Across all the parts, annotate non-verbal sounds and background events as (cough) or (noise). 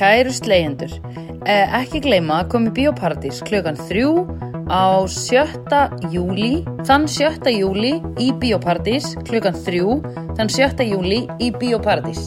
Kæru slegjendur, eh, ekki gleyma að koma í Bíóparadís klukkan 3 á 7. júli, þann 7. júli í Bíóparadís klukkan 3, þann 7. júli í Bíóparadís.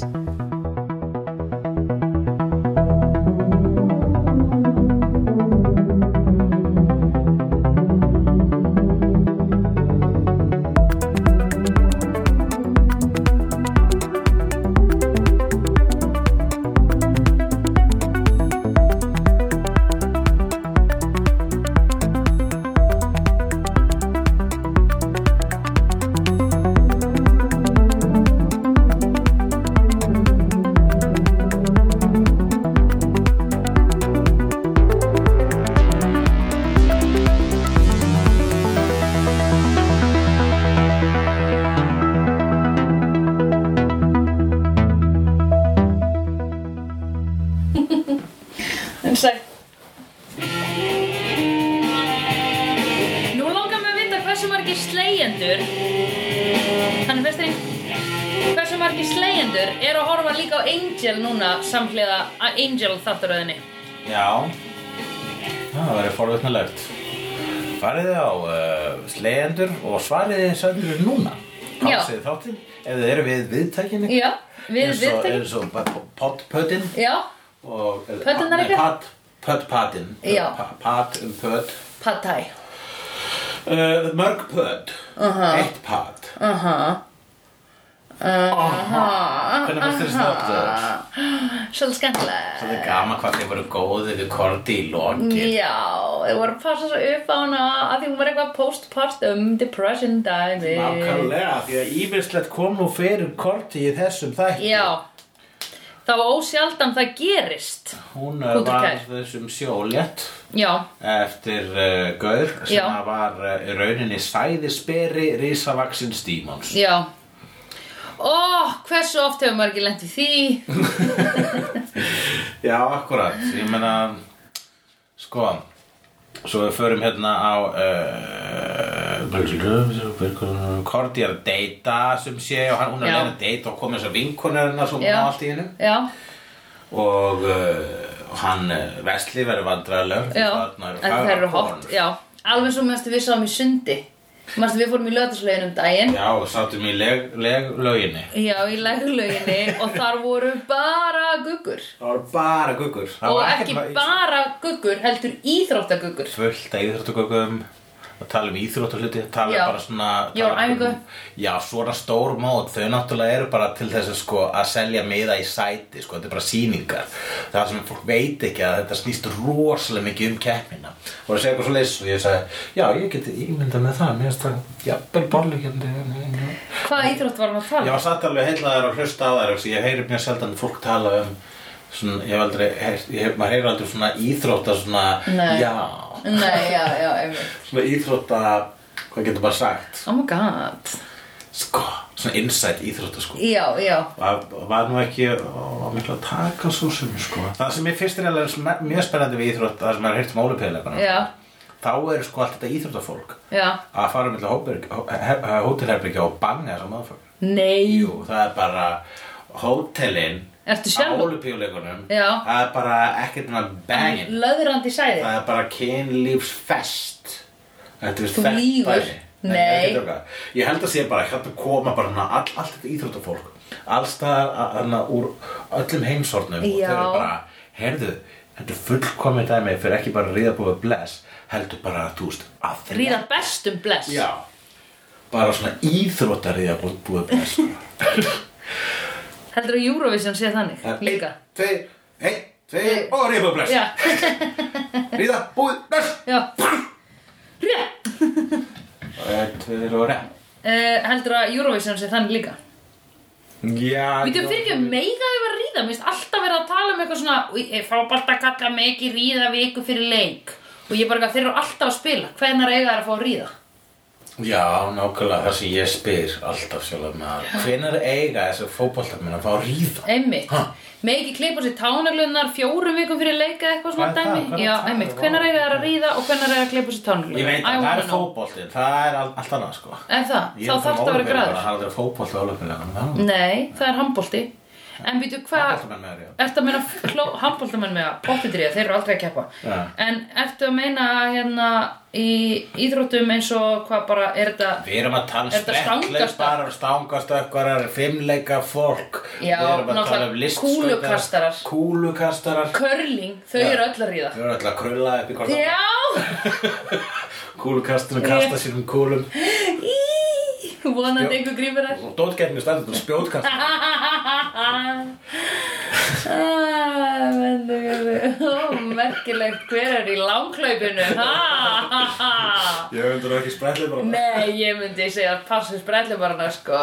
En sætt. Nú langar mig að vita hversu margir slegjendur Þannig festri Hversu margir slegjendur eru að horfa líka á Angel núna samhliða að Angel þáttaröðinni Já Það verður forvitnilegt Farið á uh, slegjendur og svarið þið söndur núna Já. Hafsið þáttinn ef þið eru við viðtækinni Já, við Eins og- viðtækjum Eins og pottpötinn Já, og Pöddirnar Nei, ykkar? pat- Pöttpatinn Já. Pa- Pat um pött pad thai uh, Mörg pött Eitt pat Aha, Hvernig fannst þér snátt það? svolítið skemmtilega Það er gaman hvað þið voru góðið við korti í lokin Já, þau voru að passa svo upp á hana að því hún var eitthvað postpartum depression dæmi Nákvæmlega, því að ímislegt kom nú fyrir korti í þessum þætti Já Það var ósjaldan það gerist Hún Hún er Kútur var kær. þessum sjólétt Já, eftir uh, Gaur sem Já. að var uh, í rauninni sæðisberi risavaksins dímons já Ó, hversu oft hefur maður ekki lent í (laughs) því Já, akkurat, ég meina sko svo við förum hérna á uh, Korti er að deyta sem sé og hann, hún er Já. að leiða að deyta og komið þess að vinkonur hennar svo hún Já. á allt í hennu Já, og uh, hann eh, Vesli verður vandræðilegur já þarna En það fagrar eru hot, konur. já Alveg svo mestu við sáum í sundi Mestu við fórum í löðarslegin um daginn Já, og sátum í leg, leglauginni Já, í leglauginni og þar voru bara guggur Það var bara guggur Það Og var ekki ekkert- bara guggur, heldur íþróttaguggur Fullt af íþróttaguggum að tala um íþrótt og hluti tala Já. bara svona Já, tala um- æfingu. Já, svona stór mót þau náttúrulega eru bara til þess að sko að selja miða í sæti sko, þetta er bara sýningar það sem fólk veit ekki að þetta snýst rosalega mikið um keppnina og það segja eitthvað svo leys og ég sagði já, ég geti ímyndað með það mér finnst það jafnvel borlíkjandi Hvaða íþrótt var hann að Ég tala? var satt alveg heillaðar og hlusta á þær og ég heyri mjög seldan fólk tala um svona, ég hef aldrei, heyrt- ég hef, maður heyri aldrei svona íþrótta svona, Nei. já um? Nei, já, já, einmitt svona íþrótta, hvað getur maður sagt Oh my god sko, svona insight íþrótta sko Já, já, Það var nú ekki á miklu að taka svo sem sko það sem ég fyrst er alveg sm- mjög spennandi við íþrótt það sem maður heyrt um ólipiðleikana Já. þá er sko allt þetta íþróttafólk já að fara um milli hótelherbyggja og banga þessum aðfólk Nei Jú, það er bara hótelin Ertu á sjálfur? olupíuleikunum Já. það er bara ekkert með bangin Löðrandi sæði það er bara kynlífsfest Þetta er Þú þekkt lýgur. dæmi. Nei, Nei. ég er ekki að djóka. Ég held að sé bara hérna koma bara hana, all, allt þetta íþróttafólk allstaðar hana, úr öllum heimsornum og Já. þau eru bara, heyrðu þetta er fullkomið dæmi fyrir ekki bara að ríða búið bless heldur bara að þú veist að þrjá Ríða bestum bless Já Bara svona íþróttariða búið bless Heldur að Eurovision sé þannig (laughs) líka Tveir, ein, tveir og ríða búið bless Já, (laughs) Ríða búið bless já Rétt Ein, tveir og rem uh, Heldur að Eurovision sé þannig líka Já Við þau fyrir ekki meiga að vera að ríða Mér finnst alltaf verið að tala um eitthvað svona "Í, eh, Frábært að kalla mig ekki ríða viku fyrir leik Og ég bara eitthvað, þeir eru alltaf að spila Hvenær eiga þær að fá að ríða? Já, nákvæmlega það sem ég spyr alltaf sjálf með það Hvenær eiga þessu fótboltamenn að fá að ríða? Einmitt Ha? Með ekki klippa sér tánaglunar fjórum vikum fyrir leika eitthvað svona Hvað er það? dæmi Hvað er Já, það? einmitt, hvenær eiga þær að ríða og hvenær eiga að klippa sér tánaglunar Ég veit að það er fótboltinn, það er all- allt annað sko En það, Ég þá er þarf það að vera græður Það er fótbolti á lögfélagunum Nei, það er handbólti En býtu hvað, Handbóltamenn með þér, ertu að meina handbóltamenn með að pottitrýja, þeir eru aldrei að keppa Já. En ertu að meina hérna í íþróttum eins og hvað bara, er þetta Við erum að tala um Er þetta sprettleikbarar, stangastökkvarar, fimmleika fólk Já, Við erum að tala náttúrulega um listskautar, kúlukastarar. Kúlukastarar curling, þau Já. eru öll að ríða Við erum alltaf að krulla upp í hvort (laughs) yeah. Já, Kúlukastarinn kasta sínum kúlum í, vonandi Já. einhver grífur þær Og dótgætni stendur til spjótkastar Ah, menn, ó, merkilegt hver er í langhlaupinu ha, ha, ha. Ég hefndur ekki sprettleikbarar Nei, ég myndi segja passus brellubarna sko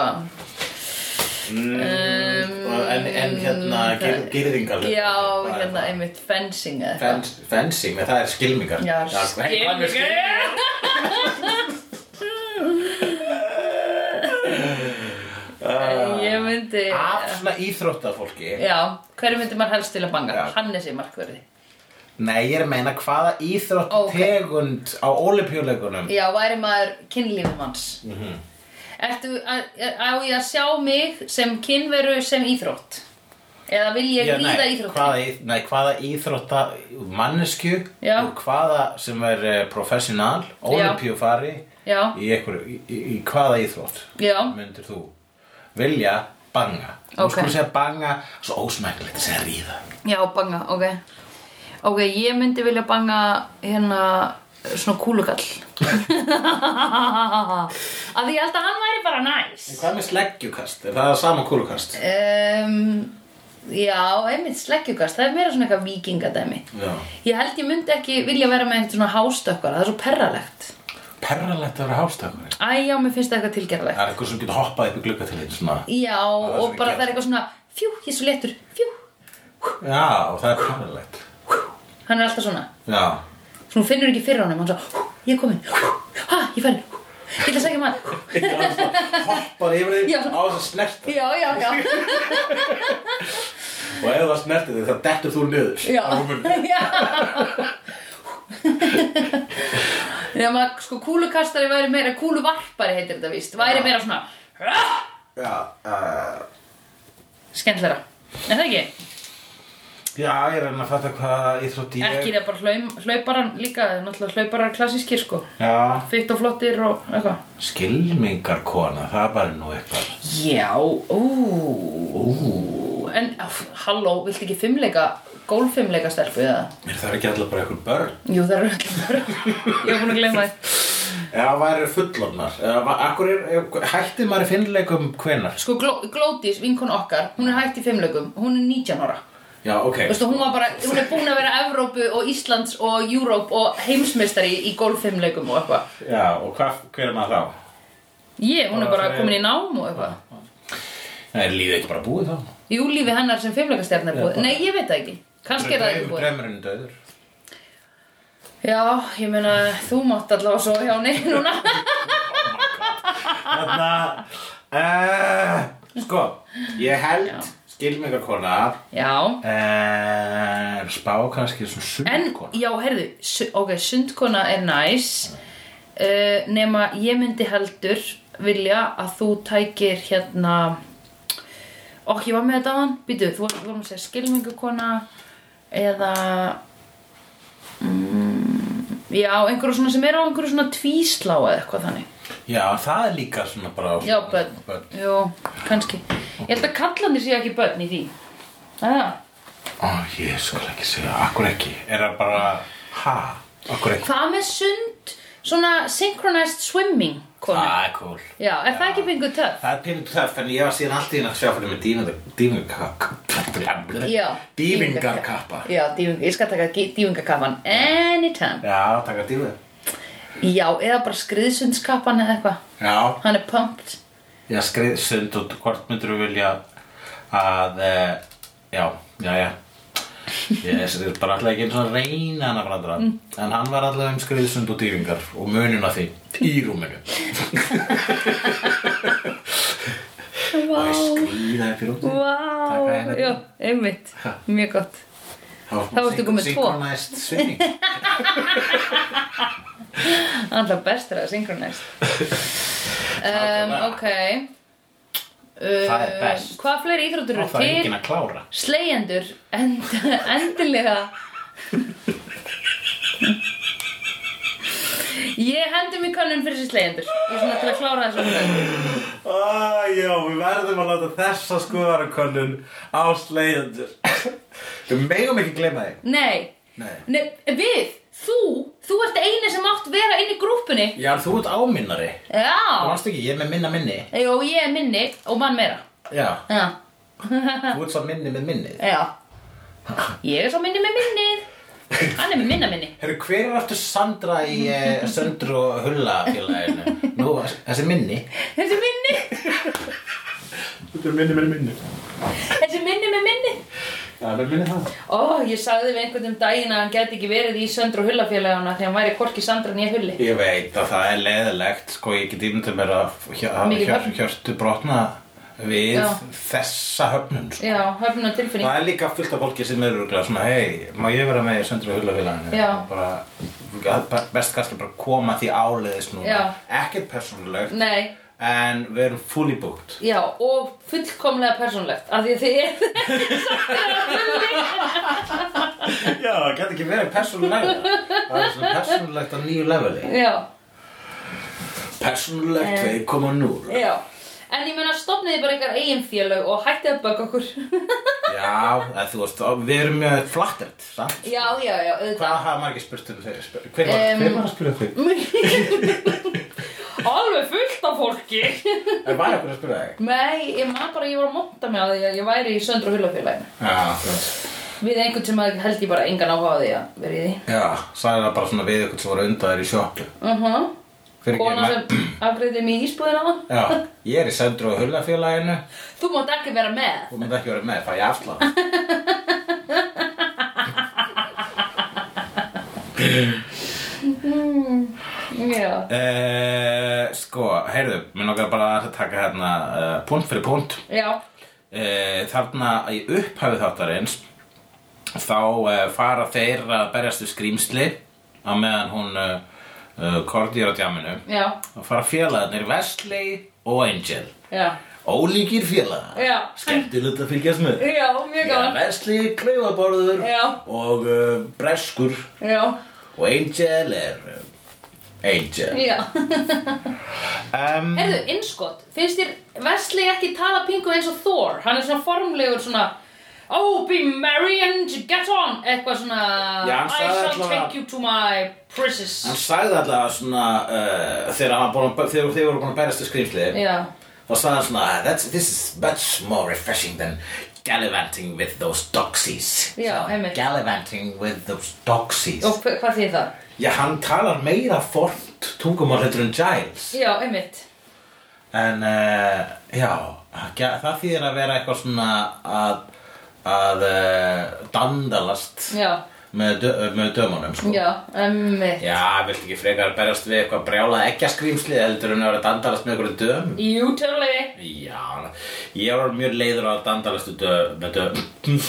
mm, og- en, en hérna, gir, girðingar mm, Já, hérna einmitt fencing eða eitthvað. Fens- Fencing, sko, en það er skilmingar Já, hey, hvað með skilningur Ég myndi Af svona íþróttafólki Já, hverju myndi maður helst til að banga? Já. Hannesi markverði Nei, ég er að meina hvaða íþrótt Ókei. tegund á olimpíuleikunum Já, væri maður kynlífum hans mm Mhm. -hmm. Ertu, að- á ég að sjá mig sem kynveru sem íþrótt? Eða vil ég Já, nei, líða íþrótt? hvaða, í- nei, hvaða íþrótta mannesku Já. og hvaða sem er uh, professional, olimpíufari Já. í, einhverju- í, í, í hvaða íþrótt Já, myndir þú vilja banga Nú Ókei. skulum segja banga, svo ósmæklegt að segja ríða já, banga, ok Ok, ég myndi vilja banga hérna svona kúlugall (laughs) Af því ég held að hann væri bara næs En hvað með sleggjukast? Er það sama kúlukast? um, Já, einmitt sleggjugast Það er meira svona eitthvað vikingadæmi Já Ég held ég myndi ekki vilja vera með einhvern svona hástökkvara Það er svo perralegt Perralegt að vera hástakar Æ, já, mér finnst það eitthvað tilgerðalegt Það er eitthvað sem getur hoppað upp í glugga til þetta svona Já, er og svo bara gert. það er eitthvað svona Fjú, ég er svo léttur, fjú Já, og það er perralegt Hann er alltaf svona Já Svo hún finnur ekki fyrir honum, hann svo "Hú, Ég er komin, hú, ha, ég fæl hú, Ég ætla að segja maður Hoppað yfir því Já. á þess að snerta Já, já, (laughs) já Og ef það snerti því það dettur þú niður Já, Á rúminu. (laughs) já Nefnum að sko kúlukastari væri meira Kúluvarpari heitir þetta víst Væri meira svona "Ah!" Já, uh, Skemmtlara, er það ekki? já, ég er að reyna að fatta hvað íþrótt ég Ekki það bara hlaum, hlauparan líka Náttúrulega hlauparar klassískir sko Já Fitt og flottir og eitthvað Skilmingarkona, það er bara nú eitthvað Já, ú En, áf, halló, viltu ekki fimmleika Gólfimmleika stelpu eða? Er það ekki allar bara eitthvað börn? Jú, það eru ekki bara Ég var búin að glemma þið Eða væri fullornar Eða, va- Akkur er, er- hætti maður í finnleikum hvenar? Sko, gló, Glódís, vinkon okkar, hún er hætt í fimmleikum Hún er 19 ára Já, ok Veistu, hún var bara, hún er búin að vera Evrópu og Íslands og Júróp og heimsmeistari í golffimmleikum og eitthvað Já, og hvað, hver er maður þá? Ég, hún er Bara bara fyrir- komin í nám og eitthvað Nei, er lífið ekki bara búið þá? Jú, lífi hennar sem fimmleikastjarnar er Já, búið bara- Nei, ég veit það ekki Kannski er það ekki búið Drömmurinn er döður Já, ég meina, þú mátt allavega svo hjá ney núna Þarna, uh, sko, ég held skilmingarkona (laughs) Já, er eh, spá kannski svona En, sundkona já, heyrðu, su ok, sundkona er næs uh, nema ég myndi heldur vilja að þú tækir hérna ok, ég var með þetta aðan, býtu, þú var- þú vorum að segja skilmingukona eða mm, já, einhverju svona sem er á einhverju svona tvíslá eða eitthvað þannig Já, það er líka svona bara já, börn, jú, kannski ég held að kallandi séu ekki börn í því Ah. aða, Ó, ég skal ekki segja, akkur ekki Er það bara, ha, akkur ekki hvað með sund svona synchronized swimming konu Það er cool Já, er það ekki pingu töff? Það er pínu töff, en ég var síðan allt í hérna að sjá fyrir með dývingarkappa Já, Dývingarkappa Já, dýving, ég skal taka dývingakappan anytime Já, taka dývingar Já, eða bara skriðsundskappan eða eitthvað Já, Hann er pumped Já, skrið, sund og hvort myndir þú vilja að, e, já, já, já. Ég er bara alltaf ekki eins og að reyna hann að brandra. Mm. En hann var alltaf um skriðsund og dýringar og mununa því í rúminu. Það er skriða upp í rúminu. Vá, Taka hérna. eina. já, einmitt Mjög gott Það Þá ertu komin tvo. Synkronæst svinning. (laughs) Hann er alltaf bestur að synchronize um, Ok Það er best. Hvað fleiri íþróttur (laughs) Og eru það er enginn til? að klára Slegjendur, end, endilega. Ég hendi mér kannun fyrir þessi slegjendur. Ég er svona til að klára þessu umræðu. ah, Já, við verðum að láta þessa skoðarakönnun á slegjandur (coughs) Við megum ekki gleyma því Nei. Nei. við, þú, þú ert eini sem átt vera inn í grúpunni. Já, þú ert áminnari Þú Já. varst ekki, ég er með minna minni Jó, ég er minni og mann meira. Já, Já. þú ert svo minni með minni Já. Ég er svo minni með minnið. Hann er með minna minni. Herru, hver er aftur Sandra í eh, Söndru og Hulla félaginu? Nú, þessi minni Þessi minni, Þú ert minni, minni, minni þessi minni með minni. Já, með minni það Ó, ég sagði við einhvern um daginn að hann geti ekki verið í Söndru og Hullafélagana því hann væri hvorki Sandra nýja Hulli. Ég veit að það er leiðilegt, sko, ég get ímyndið mér að Mikið hjör, börn. hjörtu brotna við Já. þessa höfnun, sko. Já, höfnum tilfinning. Það er líka fullt af fólki sem er örugglega svona, hei, má ég vera með í söndru hulafélaginu? Já. Bara, að- bara- best kannski bara koma því áleiðis núna. Já. Ekkert persónulegt, Nei, en við erum fully booked. já, og fullkomlega persónlegt, af því að þið er Já, það gæti ekki verið persónulega. það er svona persónulegt á nýju leveli. (laughs) Eh. Já, Persónulegt 2.0. já. En ég meina, stopniði bara einhver eigin félög og hættið að baka okkur. Já, eða þú veist, við erum mjög flattert, samt? (laughs) já, já, já, auðvitað. Hvað hafa margir spurt um þeir? Spyr- Hver var, Em. hver var að spyrja þig? (laughs) Alveg fullt af fólki. Er var eitthvað að spyrja þig? Nei, ég man bara, að ég var að monta mig að því að ég væri í Söndru og Hullafélaginu. Já, þú veist. Við einhvern sem hafði- held ég bara engan áhuga á því að vera í því. Já, sagði það bara svona við ykkur sem voru undan þér í sjoppu. Uh -huh. Fyrir Kona sem afgreðið mig í ísbúðina á það. Já, ég er í söndru og hullafélaginu Þú mátt ekki vera með. Þú mynd ekki verið með, fæ ég afslátt (laughs) Já. uh, Sko, heyrðu, mér nokkar bara að taka hérna uh, punkt fyrir punkt Já. uh, Þarna í upphæfu þáttarins Þá uh, fara þeir að berjast við skrýmsli Á meðan hún uh, uh, kordi er á djáminu Já. Þá fara félagarnir Wesley og Angel Já. Ólíkir félagar Já. Skemmtilegt að fylgjast með Já, mjög Já, gaman. Wesley klaufaborður Já. og uh, breskur Já. og Angel er uh, Angel Já. um, Herðu, innskott, finnst þér Wesley ekki tala pingu eins og Thor? Hann er svona formlegur svona Oh, be merry and get on Eitthvað svona Já, hann I sagði shall allavega- take you to my princess Hann sagði alltaf svona uh, þegar hann var búinn að- þegar þeir voru búin að berast í skrýmsli Já. þá sagði hann svona That's, This is much more refreshing than gallivanting with those doxies Já, So, einmitt. Gallivanting with those doxies Og hva- hvað þýð það? Já, hann talar meira fornt tungumál heldur en Giles Já, einmitt. En uh, já, gæ- það þýðir að vera eitthvað svona að, að uh, dandalast Já. með, dö, með dömunum sko. Já, einmitt. Já, viltu ekki frekar berjast við eitthvað brjálað ekkjaskrímsli heldur en að vera að dandalast með einhverju döm? Jú, totally. Já, ég var mjög leiður á að dandalast við dö- (laughs) með döm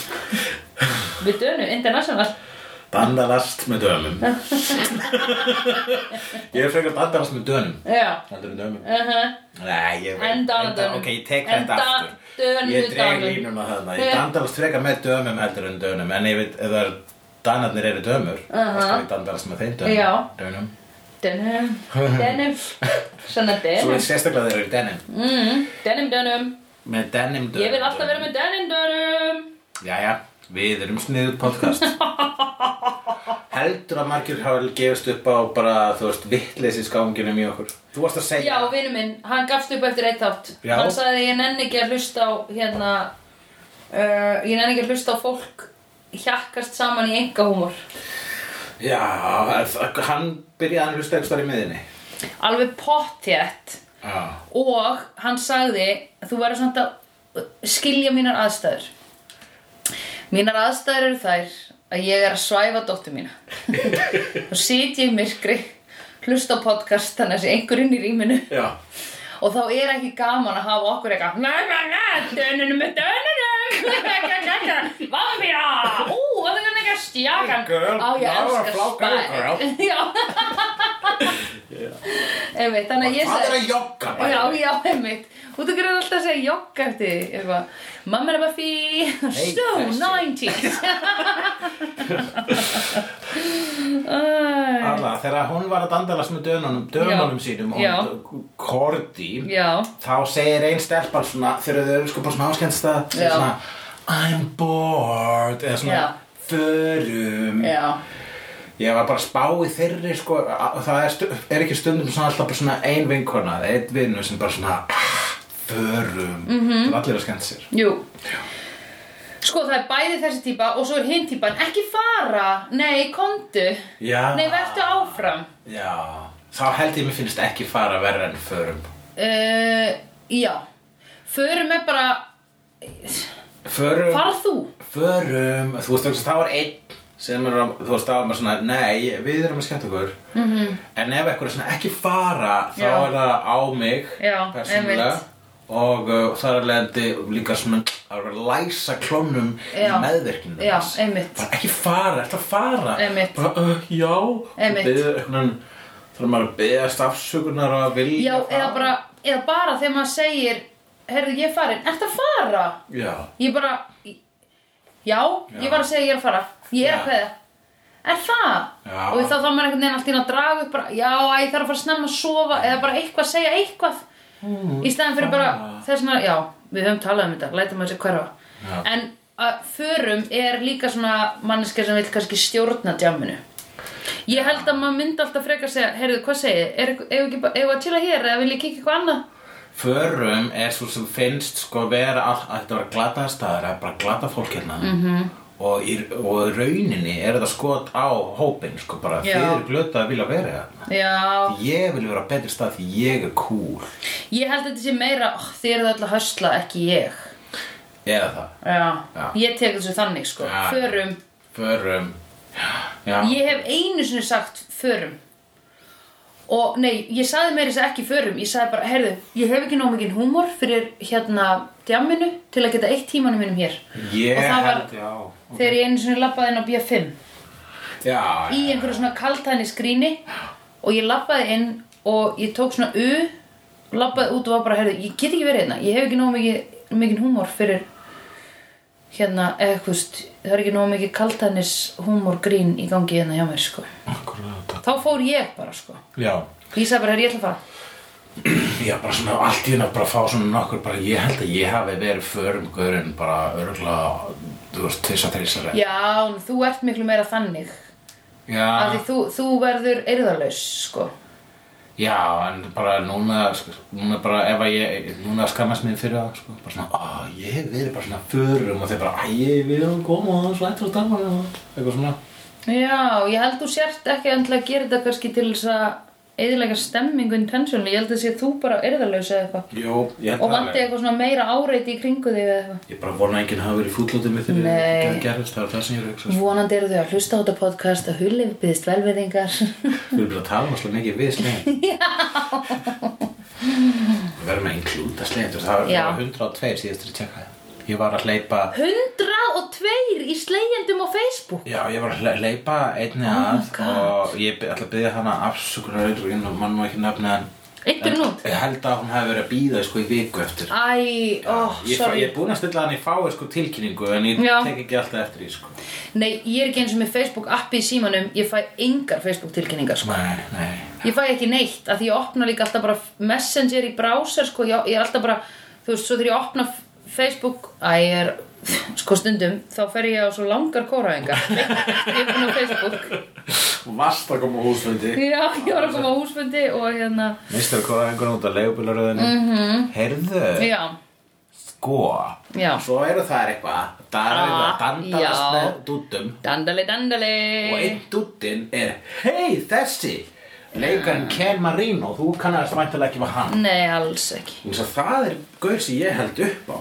Við dönum, international. Dandalast með (laughs) dömum Ég er frekar að dandalast með dönum Já. heldur en dömum Uh Nei, ég veit En ég- dánadönum. Ok, ég tek En þetta aftur dánadönum. Ég dreg línuna þarna Ég dandalast freka með dömum heldur en dönum En ég veit, ef það er Danarnir eru dömur Aha. Þá skal ég dandalast með þeim dönum Já. Dönum (laughs) Denim, denim, svona Svo denim, er sérstaklega þeir eru í denim mm, denim, denim, Með denim dönum ég vil alltaf vera með denim, denim. Jæja, við erum sniðuð (laughs) podcast Heldur að margir hafa gefist upp á bara, þú veist, vitleysi skáunginum í okkur Þú varst að segja Já, vinnu minn, hann gafst upp eftir eitt átt. Já. Hann sagði ég nenni ekki að hlusta á, hérna, uh, ég nenni ekki að hlusta á fólk hjakkast saman í enga húmor. Já, að- hann byrjaði að hlusta ekki starf í miðinni Alveg pottjætt Já og hann sagði, þú verður samt að skilja mínar aðstæður. Mínar aðstæður eru þær að ég er að svæfa dóttur mína. Þá sit ég í myrkri, hlusta á podcast þannig að sé einhverjum í rýminu Já og þá er ekki gaman að hafa okkur eitthvað Næ, næ, næ, dönunum með (laughs) dönunum Vampíra Ú, það er ekki að stjaka Hey, girl, Á, ég (laughs) now we're (laughs) elska flow girl, spæ Já einmitt, þannig að ég Hvað er að jogga? Já, já, einmitt Út og greiður alltaf að segja jogga eftir því, eitthvað Mamma er bara fí (laughs) So þessi. 90s (laughs) (laughs) Æ, Alla, þegar hún var að dandalast með dönunum, dönunum Já. sínum, Já. hún Korti, Já, þá segir ein stelpan svona, þegar þau eru sko bara svona áskendst að, Já. svona, I'm bored, eða svona, Já. förum. já Ég var bara að spá í þeirri, sko, að- það er, stu, er ekki stundum svona alltaf bara svona ein vinkona, eða einn vinnu sem bara svona, ah, förum, mm -hmm. það er allir að skemmt sér. Jú Sko það er bæði þessi típa og svo er hinn típan Ekki fara, nei, komdu Já. Nei, vertu áfram Já, þá held ég mér finnst ekki fara verra enn förum. uh, Já Förum er bara Förum... Far þú förum, þú veist, þú veist, þá er einn sem er, að- þú veist, þá er maður svona, nei, við erum að skemmta okkur -hmm. en ef eitthvað er svona ekki fara þá Mhm. Já. er það á mig Já, persónulega einmitt. og uh, það er leðandi líka svona að vera að læsa klónum í Já. meðverkinu Já, þess. einmitt. bara ekki fara, ertu að fara Einmitt. bara, uh, já, Einmitt. Biður, einhvern, þá er maður að beða stafsökunar og að vilja Já, eða bara, eða bara þegar maður segir Herðu, ég er farin, ertu að fara? já, Ég bara Já, ég var að segja ég er að fara Ég er Já. að kveða Er það? Já. Og þá þá maður einhvern veginn allt í einu að draga upp bara, Já, æ, ég þarf að fara snemma að sofa Eða bara eitthvað að segja eitthvað Mm. Í staðan fyrir bara Ah. þess að Já, við höfum talað um þetta, lætum að þessi hverfa Já. En að förum er líka svona manneska sem vil kannski stjórna djáminu Ég held að maður myndi alltaf frekar segja, heyrðu, hvað segið, er, eigum við ekki bara- eigum við að chilla hér eða vil ég kikki eitthvað annað? Förum er svo sem finnst sko vera all, að þetta vera glataða staðar að bara glata fólk hérna Mhm. -hmm. og, í, og í rauninni er þetta skot á hópin sko bara Já. þið eru glötað að vilja vera hérna Já, ég vil vera á betri stað því ég er cool Ég held að þetta sé meira, oh, þið eru öll að hösla, ekki ég. eða það Já. Já. Ég tek þessu þannig, sko. Já. Förum. Förum Já, Ég hef einu sinni sagt förum. Og nei, ég sagði meira þess að ekki förum. Ég sagði bara, heyrðu, ég hef ekki nóg mikinn húmor fyrir hérna djamminu til að geta eitt tímanum mínum hér. ég og það var- held, já Þegar ég einu sinni labbaði inn á B5 Já, í einhverju svona kaltæðni skrýni og ég labbaði inn og ég tók svona u, labbaði út og var bara, heyrðu, ég get ekki verið hérna. Ég hef ekki nóg mikið, mikið húmor fyrir hérna, eða þú veist, það er ekki nóg mikið kaltanis húmorgrín í gangi hérna hjá mér, sko. akkurat Þá fór ég bara, sko. Já, Ég sagði bara, herri, ég ætla að fara. Já, bara svona allt í hérna bara fá svona nokkur bara ég held að ég hafi verið förum gaurinn bara örgulega, þú veist, tvisar, tvisar Já, en þú ert miklu meira þannig. Af því þú, þú verður eirðarlaus, sko. Já, en bara núna, sko, núna bara ef að ég, núna skammast mér fyrir það, sko, bara svona, á, ég hef verið bara svona förum og þeir bara, æ, ég vil koma og svo eitthvað starfari og eitthvað svona. Já, ég held þú sért ekki endla að gera þetta kannski til þess að eðilega stemmingu intentionally. Ég held að sé þú bara eirðarlaus eða eitthvað. Jú, ég held Og vandi eitthvað svona meira áreiti í kringu þig eða eitthvað. Ég bara vona að enginn hafi verið fútlótið mér fyrir Nei. það gerðist, það er það sem ég er að hugsa, sko. Vonandi eru þau að hlusta á þetta podcast að hulif byggðist (laughs) velviðingar. Við erum bara að tala um svolítið mikið við (laughs) slegin. Já. Við verðum að inklúta slegin, það Já. var 102 síðast til að tjekka það. Ég var að hleypa, 102 í slegjendum á Facebook. Já, ég var að hle- hleypa einni Oh að og ég by- ætla að byggja hana afsökunar og mann má ekki nefna hann Eitt byrjun út. Ég held að hún hefði verið að býða sko í viku eftir Æ, ó, ég, fæ, Oh, sorry. ég er búin að stilla hann í fái sko tilkynningu en ég Já. tek ekki alltaf eftir því sko Nei, ég er ekki eins og með Facebook appi í símanum, ég fæ engar Facebook tilkynningar, sko. Nei, nei Ég fæ ekki neitt, af því ég opna líka alltaf bara Messenger í browser, sko, ég, ég er alltaf bara, þú veist, svo þegar ég opna f- Facebook, að ég er, sko, stundum, þá fer ég á svo langar kóraðingar. (laughs) ég er búin á Facebook. Hún varst að koma á húsfundi Já, ég var að koma á húsfundi og hérna, Mistur að kóða einhvern út af leigubilaröðinu mm -hmm. Heyrðu, Mhm. já, sko Já. Svo eru þær eitthvað Dar eru Ah, það dandalast já. með dúttum dandali, dandali. og einn dúttinn er Hei, þessi Leikarinn Ken Marino, þú kannast mæntilega ekki með hann Nei, alls ekki. Þannig að það er gaur sem ég held upp á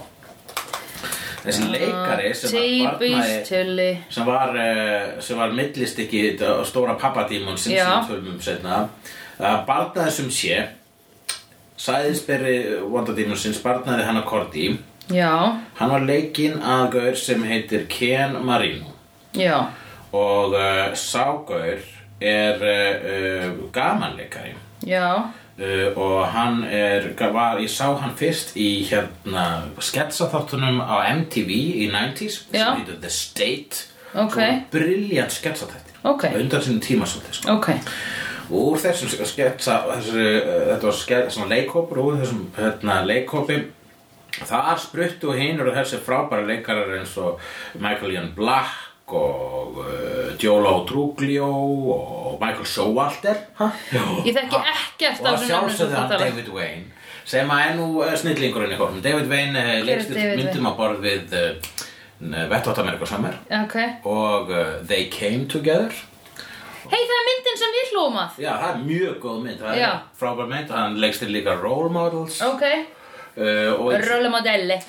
Þessi leikari sem var Típis, barnaði tulli. sem var, eh, sem var millist ekki þetta stóra pappadímon sem Já. sem tölum setna að eh, barnaði sem sé sæðisberi vandadímon sem barnaði hann að Korti Já, hann var leikinn að gaur sem heitir Ken Marino já, eh, og uh, ságaur er uh, gamanleikari Já, uh, eh, og hann er, var, ég sá hann fyrst í hérna sketsaþáttunum á MTV í 90s Já. sem heitir The State Ok. briljant sketsaþætti Ok. undan sinni tíma svolítið sko. ok og úr þessum sketsa þessi, uh, þetta var sketsa, svona leikhópur og úr þessum hérna, leikhópi þar spruttu hinur og þessi frábæra leikarar eins og Michael Ian Black og uh, Jolo Truglio og Michael Showalter ha? Já Ég þekki ekkert af og að þessum mönnum sem sjálfsögðu þú hann talar. David Wayne sem að er nú eh, snillingurinn í hórum David Wayne eh, leikstýrt David Wayne? myndum að borð við uh, Vettvot Amerika Summer Ok og uh, They Came Together Hei, það er myndin sem við hlóum að já, það er mjög góð mynd það Já. er frábær mynd, hann leikstýr líka Role Models Ok, uh, og röllumodelli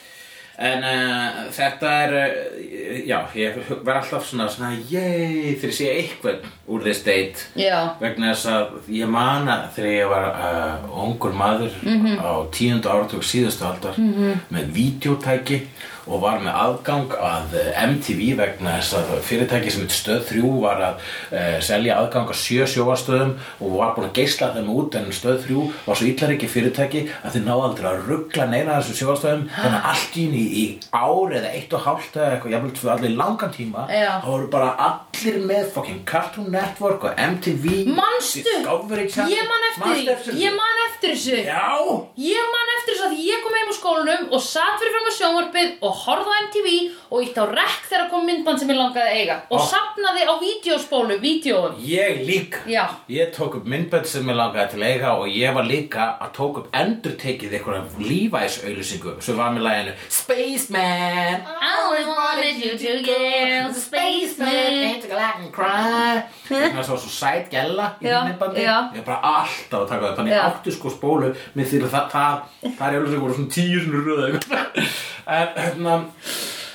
En uh, þetta er, uh, já, ég verð alltaf svona, svona, yey, þegar ég sé eitthvað úr þess date Já, vegna þess að ég man að þegar ég var uh, ungur maður á tíundu áratug síðustu aldar með videótæki og var með aðgang að eh, MTV vegna þess að fyrirtæki sem heit stöð 3 var að uh, selja aðgang að sjö sjóastöðum og var búin að geisla þeim út en stöð 3 var svo illariki fyrirtæki að þið náðu aldrei að ruggla neina þessum sjóastöðum þannig að allt í henni í ár eða eitt og hálft eða eitthvað, jafnvel tvö allir langan tíma Já. þá voru bara allir með fucking Cartoon Network og MTV Manstu? Discovery Channel Ég man eftir Manstu því, ég man eftir þessu Já Ég man eftir þessu að ég kom heim úr skólanum og satt fyrir fram á sjónvarpið og horfði á MTV og ítt á rekk þegar kom myndband sem ég langaði að eiga og Ó. safnaði á vídeospólu, vídeoum Ég líka Já. Ég tók upp myndbönd sem ég langaði til að eiga og ég var líka að tók upp endurtekið einhverja Levi's auðlýsingu sem var með læginu Spaceman I always wanted you to get a spaceman Þannig að það var svo sæt gælla í Já, myndbandi já. Ég var bara alltaf að taka það Þannig Já. já. áttu sko spólu með því að það, það, það er auðlýsingu voru svona tíu sinni röða (laughs) En hérna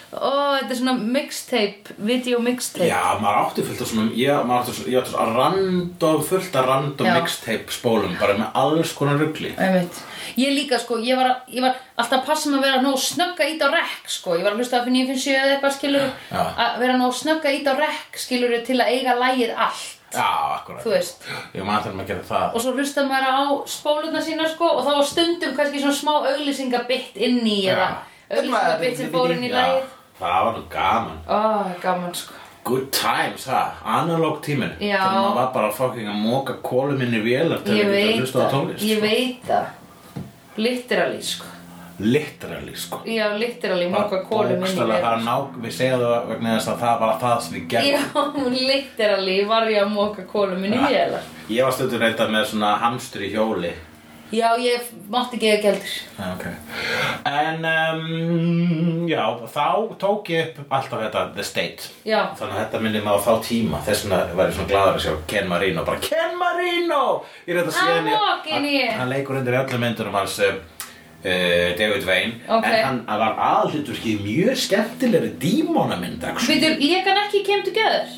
Ó, þetta er svona mixtape, video mixtape Já, maður átti fullt af svona, ég, maður átti svona, ég átti svona random, fullt af random Já. mixtape spólum, bara með alls konar rugli. Einmitt. Ég líka sko, ég var, að- ég var alltaf að passa mig að vera nóg snögg að íta á rekk sko Ég var að hlusta á fyrir 957 eða eitthvað skilur Já. Að vera nóg snögg að íta á rekk skilur til að eiga lægið allt Já, akkurat. Þú veist. Ég maður þarf að gera það. Og svo hlusta maður á spólurna sína sko Og þá var stundum kannski svona smá auglýsingabitt inn í Eða auglýsingabitt sem fór inn í Já, lægið Það var nú gaman. Ó, gaman sko Good times, það, analog tíminn. Já. Þegar maður var bara fucking að móka kólum inn í vélar til Ég að geta veit hlusta á það, tónlist. sko. ég veit það Literally sko veit. Literally, sko. Já, literally, moka kólum inn í Bókstaflega, mér það er ná, við segja það vegna þess að það var það sem við gerðum. Já, literally var ég að moka kólum minni Ja. vélar. Ég var stundur reyndað með svona hamstur í hjóli. Já, ég mátti ekki að gældur. Ah, Ok. En, um, já, þá tók ég upp alltaf þetta The State. Já. Þannig að þetta minni maður þá tíma. Þess vegna var ég svona gladur að sjá Ken Marino. Bara, Ken Marino! Ég er þetta Hann síðan walking here. Hann leikur undir öllum myndunum hans uh, uh, David Wayne. Ok. En hann hann var aðhluturki mjög skemmtilegri dímonamynd. actually. Veitur, ég kann ekki kem til gæður.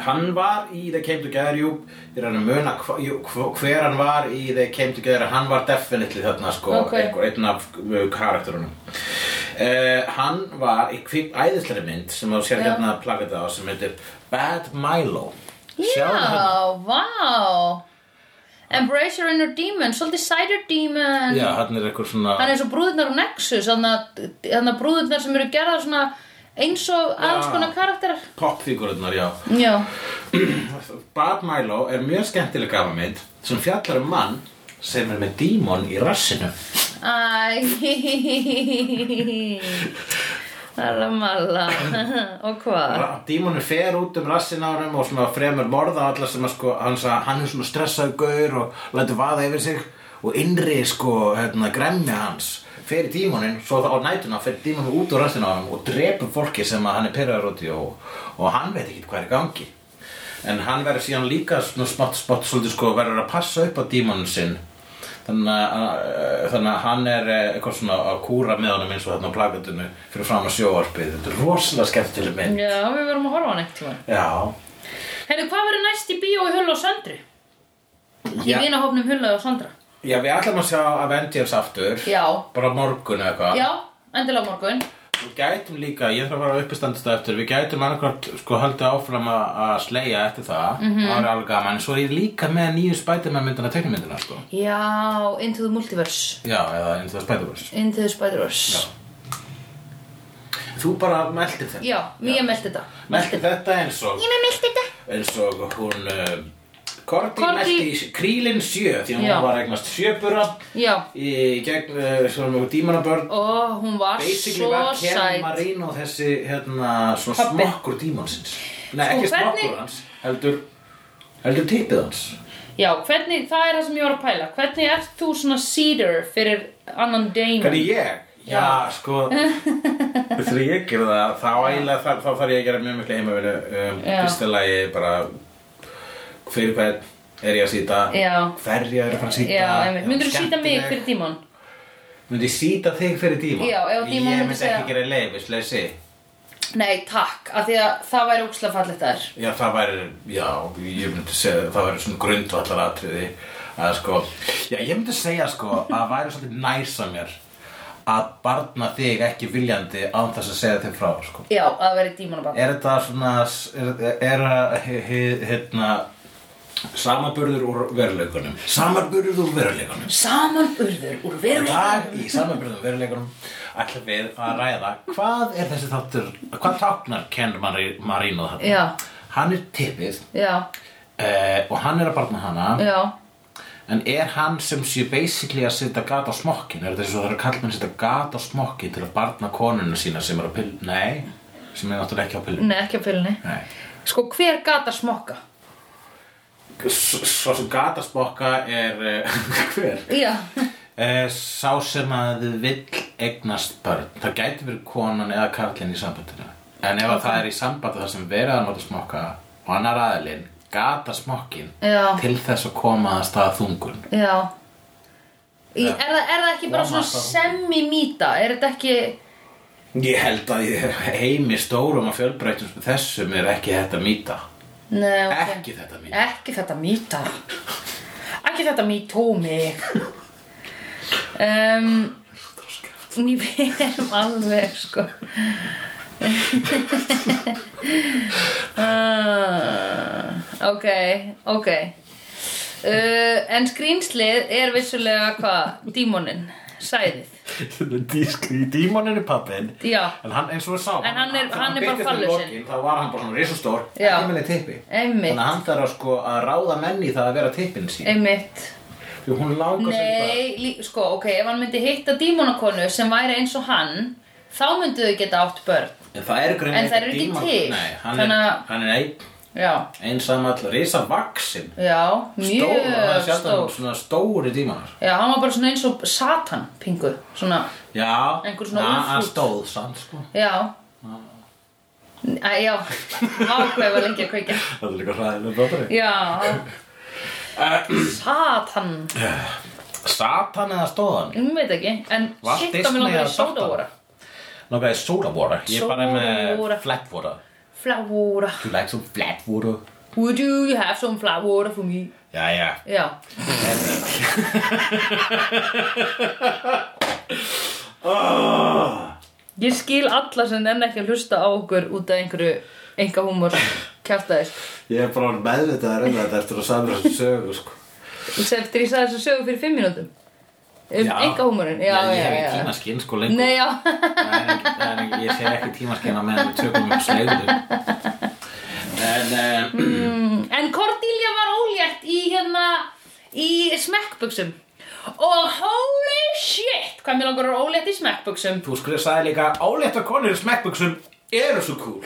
Hann var í They Came Together, jú, ég er hann að muna hva, jú, hva- hver hann var í They Came Together, hann var definitely þarna sko, Ok. einhver, einn af uh, karakterunum. Uh, hann var í kvip æðislega mynd sem þú sér Já. hérna að plaka þetta á sem heitir Bad Milo. hérna. Sjáðu hana. Já, vá. Embrace your inner demon, svolítið cider demon. Já, hann er eitthvað svona... Hann er svo brúðurnar og Nexus, þannig að brúðurnar sem eru gerðar svona eins og alls konar karakterar. Popfigurinnar, já. (clears throat) Já, Bad Milo er mjög skemmtileg gafamind sem fjallar um mann sem er með dímon í rassinu. æ, Ramalla, og hvað? Dímonu fer út um rassin á hann og svona fremur morða alla sem að sko, hann, sa, hann er svona stressaðu gaur og lætur vaða yfir sig og innri sko, hérna, gremja hans fer í dímonin, svo á nætuna fer dímonu út úr rassin á hann og drepur fólki sem að hann er pyrraður út í og, og hann veit ekki hvað er í gangi en hann verður síðan líka svona smátt smátt svolítið sko verður að passa upp á dímonun sinn þannig að, að- þannig að hann er eh, eitthvað svona að kúra með honum eins og þarna á plakatinu fyrir fram að sjóarpið þetta er rosalega skemmtileg mynd Já, við verum að horfa á hann ekkert tíma. Já, Herru, hvað verður næst í bíó í Hull og Söndru? Í Já. vinahófnum Hulla og Söndra. já við ætlum að sjá Avengers aftur Já. Bara á morgun eða eitthvað Já, endilega á morgun. við gætum líka, ég þarf að fara uppistandist eftir, við gætum annarkvæmt sko haldið áfram að að sleia eftir það, Mhm. það er alveg gaman, svo er ég líka með nýju Spiderman myndina, teknimyndina sko. Já, Into the Multiverse Já, eða eins og Spider-Verse. Into the Spider-Verse Þú bara meldir þetta. Já, ég meldi þetta Meldir þetta eins og, Ég með meldi þetta eins og hún, uh, Korti Cordy- meldi í krílinn sjö, því að Já. hún var að eignast sjöbura Já, í gegn, uh, svona, dímanabörn og hún var svo Basically var Ken sæt Marino þessi hérna svona Pabbi. smokkur dímansins Nei, Sko, ekki hvernig- smokkur hans, heldur heldur tippið hans Já, hvernig, það er það sem ég var að pæla Hvernig ert þú svona cedar fyrir annan deimon? Hvernig ég? Já, sko (laughs) Þegar ég gerði það, þá ægilega þar, þá þarf ég að gera mjög miklu heimavinu um, Já. Fyrsta lagi bara fyrir hvern er ég að sýta Já. Hverja er að fara að sýta Já, einmitt, myndur þú sýta mig fyrir dímon? Myndi ég sýta þig fyrir díman? Já, ef dímon Ég myndi myndi segja- ekki gera leifisleysi Nei, takk, af því að það væri ókslega fallegt þær Já, það væri, já, ég myndi segja það væri svona grundvallar atriði að sko, já, ég myndi segja sko að það væri svolítið næsa mér að barna þig ekki viljandi án þess að segja þig frá, sko Já, að það væri dímonabann Er þetta svona, er, er að, he- he- hérna, samaburður úr veruleikunum Samaburður úr veruleikunum Samanburður úr Í veruleika dag í samanbyrðum veruleikunum ætlum við að ræða hvað er þessi þáttur, hvað táknar Ken Mari- Marino þarna? Já. Hann er tippið Já, Uh, og hann er að barna hana já, en er hann sem sé basically að setja gat á smokkin er þetta eins og það er að kalla menn setja gat á smokkin til að barna konuna sína sem er á pillum nei, sem er náttúrulega ekki á pillum nei, ekki á pylunni nei. Sko, hver gata smokka? S- svo sem gat að smokka er uh, (laughs) hver? Já, (laughs) Uh, sá sem að þið vill eignast börn það gæti verið konan eða karlinn í sambandinu en ef að það er í sambandi þar sem verið að nota smokka og annar aðilinn gata smokkin Já. til þess að koma að staða þungun já Í, er, það, er það ekki bara Já, svona maður- semi-mýta? Er þetta ekki... Ég held að ég- heimi stórum og fjölbreytum sem þessum er ekki þetta mýta. Nei, ok Ekki þetta mýta. Ekki þetta mýta Ekki þetta mýtó mig um, Við erum alveg sko (laughs) uh, Ok, ok uh, En skrýnslið er vissulega hvað? Dímonin, sæðið Í dímonin er pappin. Já. En hann, eins og við sáum. En hann er- hann er bara birtist í fallusinn. lokin, Þá var hann bara svona risustór. Já. Ekki með tippi. Einmitt. Þannig að hann þarf að sko að ráða menn í það að vera tippin sín. Einmitt Því hún langar sér bara. Nei, lí, sko, ok, ef hann myndi hitta dímonakonu sem væri eins og hann þá myndu þau geta átt börn En það er greið. En þær eru ekki til. Nei, hann Þannig er, að- hann er ein, Já, einsamall, risavaksin. já, Stór, það er mjög sjaldan stór svona stóri dímanar. Já, hann var bara svona eins og satan pingu Svona, Já, Einhver svona na- hann úlfúll. stóð samt sko. já Æ, já, ákveð var lengi að kveikja Það er líka hræðilega bátur. Já, satan Satan eða stóðan? Ég veit ekki, en Var shit Disney að mér langar að í sódavóra Nóka, það er sódavóra. Ég er bara með Sódavóra. flattvóra. Flávóra Þú lægst um flattvóra. Would you have some flávóra for me? Jæja. Já, Oh. Ég skil alla sem nenn ekki að hlusta á okkur út af einhverju enga húmor kjartaðis. Ég er bara meðvitaður um þetta eftir að samra þessu sögu, sko. Sem eftir ég sagði þessu sögu fyrir fimm mínútum. Um enga húmorinn. Já, já, já. Ég hef já. ekki tímaskinn, sko, lengur. Nei, já. (laughs) Það er ekki- það er ekki- Ég sé ekki tímaskinn að meðan við tökum upp slegðu. En, eh, En Cordelia var ólétt í hérna, í smekkbuksum. Og holy shit, hvað mér langar að vera ólétt í smekkbuksum. þú skrif sagði líka, álétta konur í smekkbuxum eru svo cool.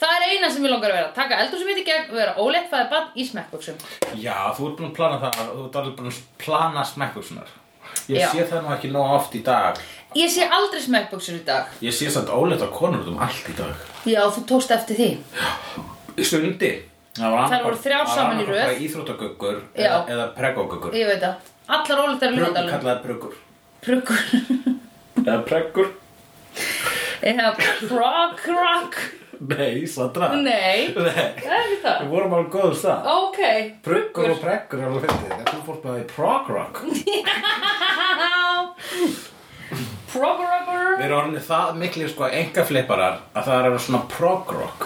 Það er eina sem mér langar að vera. Taka eldur sem veit í gegn og vera ólétt fæðið bann í smekkbuksum. Já, þú ert búin að plana það, þú ert alveg búin að plana smekkbuksunar. Ég Já. sé það nú ekki nóg oft í dag. Ég sé aldrei smekkbuksur í dag. Ég sé samt óleita konur út um allt í dag. Já, þú tókst eftir því. Sundi. Það var annað- voru þrjár það saman í annað röð. bara Íþróttagöggur Já. eða, eða pregogöggur. Ég veit það. Allar óléttar í Pruggur lögadalum. kallaði pruggur. Pruggur. Eða preggur. (laughs) Eða prog rock Nei, Sandra. Nei. (laughs) Það Nei. er ekki það Við vorum alveg góðum stað. Ok Pruggur og preggur er alveg fyndið. En þú fórst með það í prog rock. Já Prog-rocker Við erum orðinni það miklir sko enga fliparar að það er að vera svona prog-rock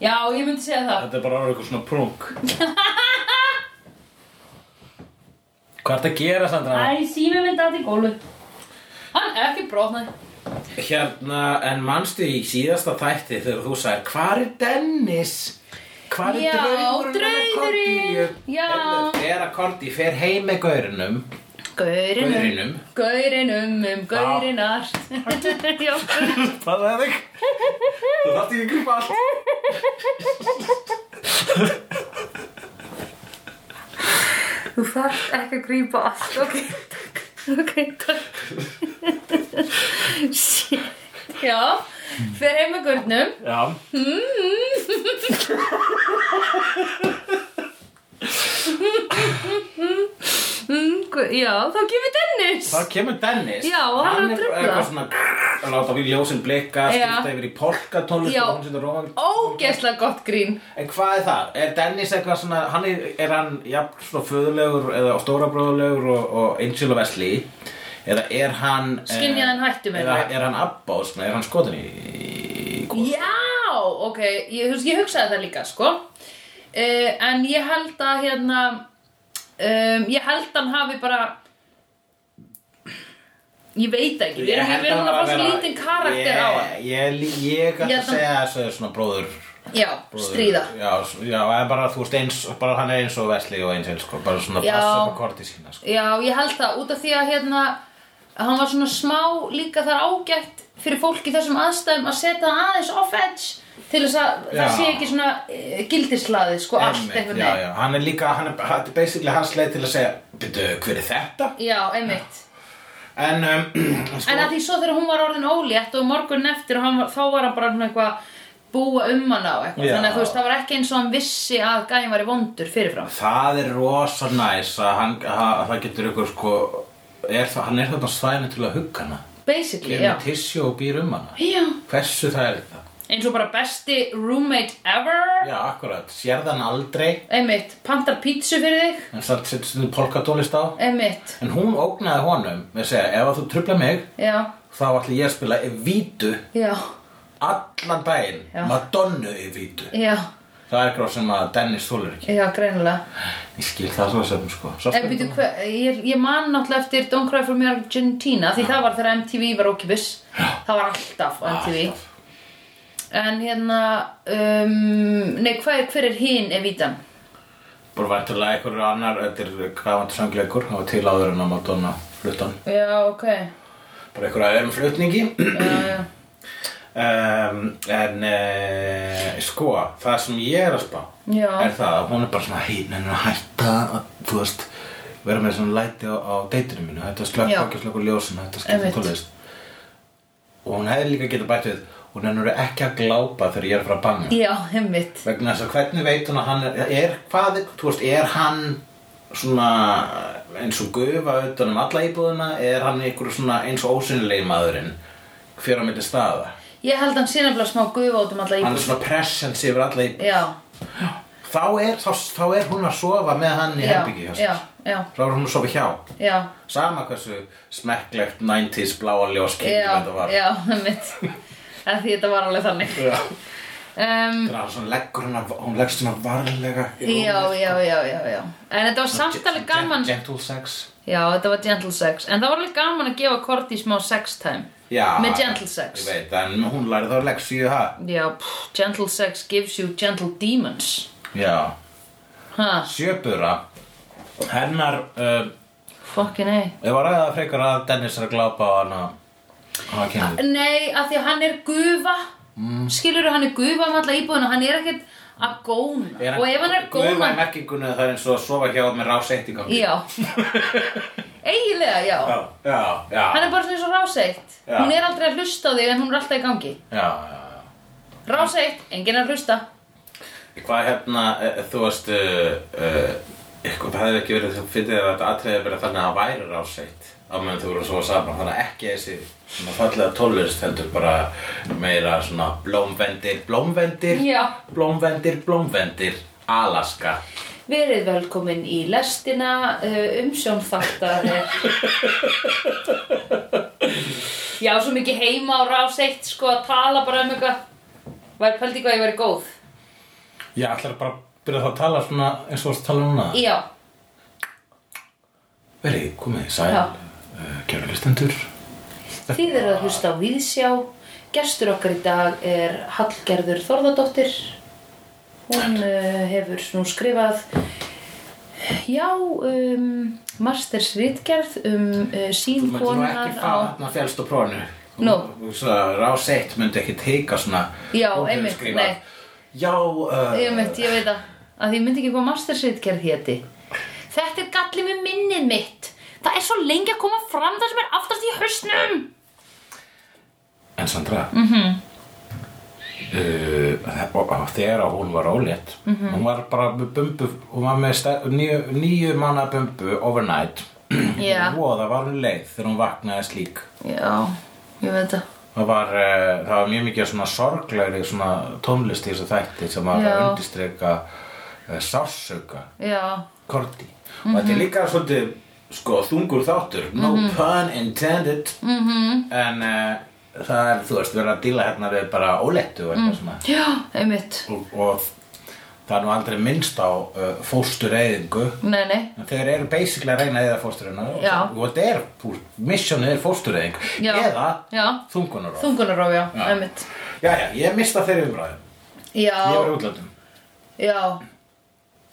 Já, ég myndi segja það Þetta er bara orðið eitthvað svona prunk (laughs) Hvað ertu að gera, Sandra? Æ, sími myndi að í gólu Hann er ekki brotnaði Hérna, en manstu í síðasta þætti þegar þú sagði Hvar er Dennis? Hvar er Já, draugurinn hennar draugurinn. Cordelia?" Já. Heyrðu, Þegar Korti fer heim með gaurunum Gaurinum Gaurinum. Gaurinum um gaurinar (laughs) Já, (laughs) Það er (laughs) þig (laughs) Þú þátti ekki að grípa allt Þú þarft ekki að grípa allt Ok, takk Ok, takk Shit Já, fer heim með gaurnum Já mm, gu- Já, þá gefur Dennis Þá kemur Dennis Já, og hann er að trufla. eitthvað svona Að láta við ljósin blika Skipta Já. yfir í polkatónlist Já. og hún setur rófan- Ógeðslega gott grín En hvað er það? Er Dennis eitthvað svona, hann er, er hann jafn svona föðulegur eða stórabróðulegur og, og Angel og Wesley? Eða er hann... eh, Skynjaði hann hættu með Eða það. er hann abbás, er hann skotin í... í- í- Já, ok, ég, þú veist, ég hugsaði það líka, sko uh, En ég held að, hérna um, Ég held hann hafi bara Ég veit ekki, við erum held við erum hann að fá hafi svo verið- lítinn karakter ég, á hann Ég, ég, ég Ég gæti held að hann- segja þessu er svona bróður... Já, bróður- stríða Já, s- já, en bara þú veist eins, bara hann er eins og Wesley og Angel, sko, bara svona Já. passa upp á korti sína, sko. Já, ég held það, út af því að, hérna Hann var svona smá líka þar ágætt Fyrir fólk í þessum aðstæðum að setja það aðeins off edge Til þess að það Já. sé ekki svona uh, gildislaði, sko, allt Einmitt, einhvern já, veginn já, hann er líka, hann er, þetta er basically hans leið til að segja, byrju, hver er þetta? Já, einmitt En, um, (clears throat) sko, En að því svo þegar hún var orðin ólétt og morgun eftir og hann, var- þá var hann bara svona eitthvað að búa um hana og eitthvað Já. þannig að þú veist það var ekki eins og hann vissi að gæin var í vondur fyrirfram Það er rosa næs að, hann, að það getur ykkur sko er það, hann er þarna á svæðinu til að hugga hana basically, kemur já. með tissjó og býr um hana já Hversu það er þetta? eins og bara besti roommate ever Já, akkurat, sér þann aldrei einmitt, pantar pítsu fyrir þig en samt setur stundum polkadólist á einmitt, En hún ógnaði honum með að segja ef að þú trubla mig já, þá ætla ég að spila í vítu já, allan daginn Já. Madonnu í vítu já Það er gráð sem að Dennis þúlur ekki já, greinilega Ég skil það svo sem sko Svo En býtu, hva, ég, ég man náttúrulega eftir Don't Cry For Me Argentina því það var þegar MTV var ókipis það var alltaf á MTV Alltaf. En hérna, um, nei, hver, hver er hinn Evitan? Bara vantulega einhverjur annar, þetta er krafandi söngleikur, það var til áður en að Madonna fluttan. Já, ok. Bara einhverjur öðrum flutningi. Já, já. Um, en uh, sko, það sem ég er að spá Já. er það að hún er bara svona hýn en að hætta að, þú veist, vera með svona læti á, á deitinu mínu, hætta að Já. slökka ekki slökka ljósinu, hætta að skipta Einmitt. tónlist. Og hún hefði líka getað bætt við, hún er nú ekki að glápa þegar ég er að fara að banga. (clears throat) Já, hemmitt. vegna þess að hvernig veit hún að hann er, er hvað, þú veist, er hann svona eins og gufa utan um alla íbúðina er hann einhver svona eins og ósynilegi maðurinn fyrir á milli staða Ég held hann sé nefnilega smá gufa út um alla hann íbúð. er svona presens yfir alla íbúð Já, þá er, þá, þá er hún að sofa með hann í já, herbyggi hjá já, sér já, þá er hún að sofa hjá já, sama hversu smekklegt 90s bláa ljóskinn já, þetta var já, hemmitt. (laughs) Af því þetta var alveg þannig. Já. Um, þannig að hann svona leggur hún að, hún leggst svona varlega í já, rúmið. já, já, já, já. En þetta var samt alveg gaman. gentle sex Já, þetta var gentle sex. En það var alveg gaman að gefa Korti smá sex time. Já, Með gentle sex. Ég veit, en hún lærði þá leksíu það Já, pff, gentle sex gives you gentle demons. Já, Ha, sjöbura Hennar, uh, fucking ei. ég var ræða frekar að Dennis er að glápa á hana Hana Ah, kynni Nei, af því að hann er gufa mm. Skilur hann er gufa um alla íbúðina Hann er ekkert að góna Og ef hann er að Guð var í góna merkingunni að það er eins og að sofa hjá með rás eitt í gangi Já Eiginlega, já (laughs) já, já, já, Hann er bara svona eins og ráseitt Já. Hún er aldrei að hlusta á þig en hún er alltaf í gangi já, já, Ráseitt, enginn að hlusta já Hvað hérna, eh, þú veist uh, uh, Eitthvað, það hefði ekki verið þú fyrir að þetta atriði verið þannig að það væri rás eitt á meðan þú voru að sofa saman þannig að ekki þessi svona fallega tólust heldur bara meira svona blómvendir, blómvendir Já Blómvendir, blómvendir, Alaska Verið velkomin í eh, lestina uh, umsjónþáttar er Ég á svo mikið heima á rás eitt sko að tala bara um eitthvað Væri pældi hvað ég væri góð Ég ætlar bara að byrja þá að tala svona eins og þú varst að tala núna. Já, Verið, komið, þið sæl, Já. uh, kæra listendur. þið eru að hlusta á Víðsjá Gestur okkar í dag er Hallgerður Þorðardóttir Hún uh, hefur nú skrifað Já, um, Masters Ritgerð um uh, Þú sín mættu nú konar ekki fara á þarna fjálst á prófinu. Nú. Rás 1 myndi ekki teika svona. Já, hún hefur einmitt, skrifað, nei. Já, uh, Ég veit, ég veit að, að ég myndi ekki hvað mastersritgerð héti. Þetta er gallið með minnið mitt. Það er svo lengi að koma fram það sem er aftast í hausnum. En Sandra mm -hmm. Mhm. uh, Þegar að hún var ólétt Mhm. Hún var bara með bumbu Hún var með stær- níu, níu manna bumbu Overnight (clears throat) Já. Og það var hún leið þegar hún vaknaði slík Já, ég veit að. Það var, uh, það var mjög mikið svona sorglegri svona tónlist í þessu þætti sem var Já. að undistreka uh, sársöka Já, Korti og þetta er Mhm. líka svolítið sko þungur þáttur no pun intended -hmm. Mhm. en uh, það er þú veist verið að díla hérna við bara óléttu og Mhm. eitthvað svona já, einmitt. og, og það er nú aldrei minnst á uh, fóstureyðingu Nei, nei. En Þeir eru basically að reyna eða fóstureyðina Já. og þetta er, pú- missionið er fóstureyðing Já. eða Já. þungunaróf Þungunarof, já, Já. einmitt. Jæja, ég mista þeirri umræðum Ég var í Já, útlöndum já.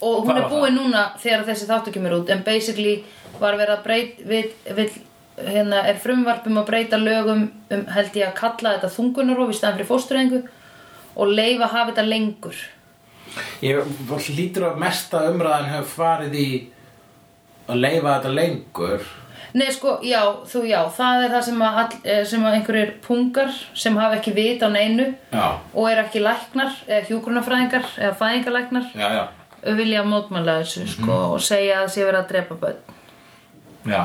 Og hún Hvað er var búin núna þegar þessi þáttu kemur út, en basically var verið að breyta, við, við, hérna, er frumvarpum að breyta lögum um, held ég að kalla þetta þungunarof í staðan fyrir fóstureyðingu og leifa að hafa þetta lengur. Ég hlýtur að mesta umræðan hefur farið í að leifa þetta lengur Nei, sko, já, þú, já, það er það sem að, all, eh, sem að einhverjir pungar sem hafa ekki vit á neinu Já, og er ekki læknar, eða hjúgrunafræðingar, eða fæðingalæknar, já, já, vilja mótmæla þessu, sko, Mhm. og segja að sé verið að drepa börn. já.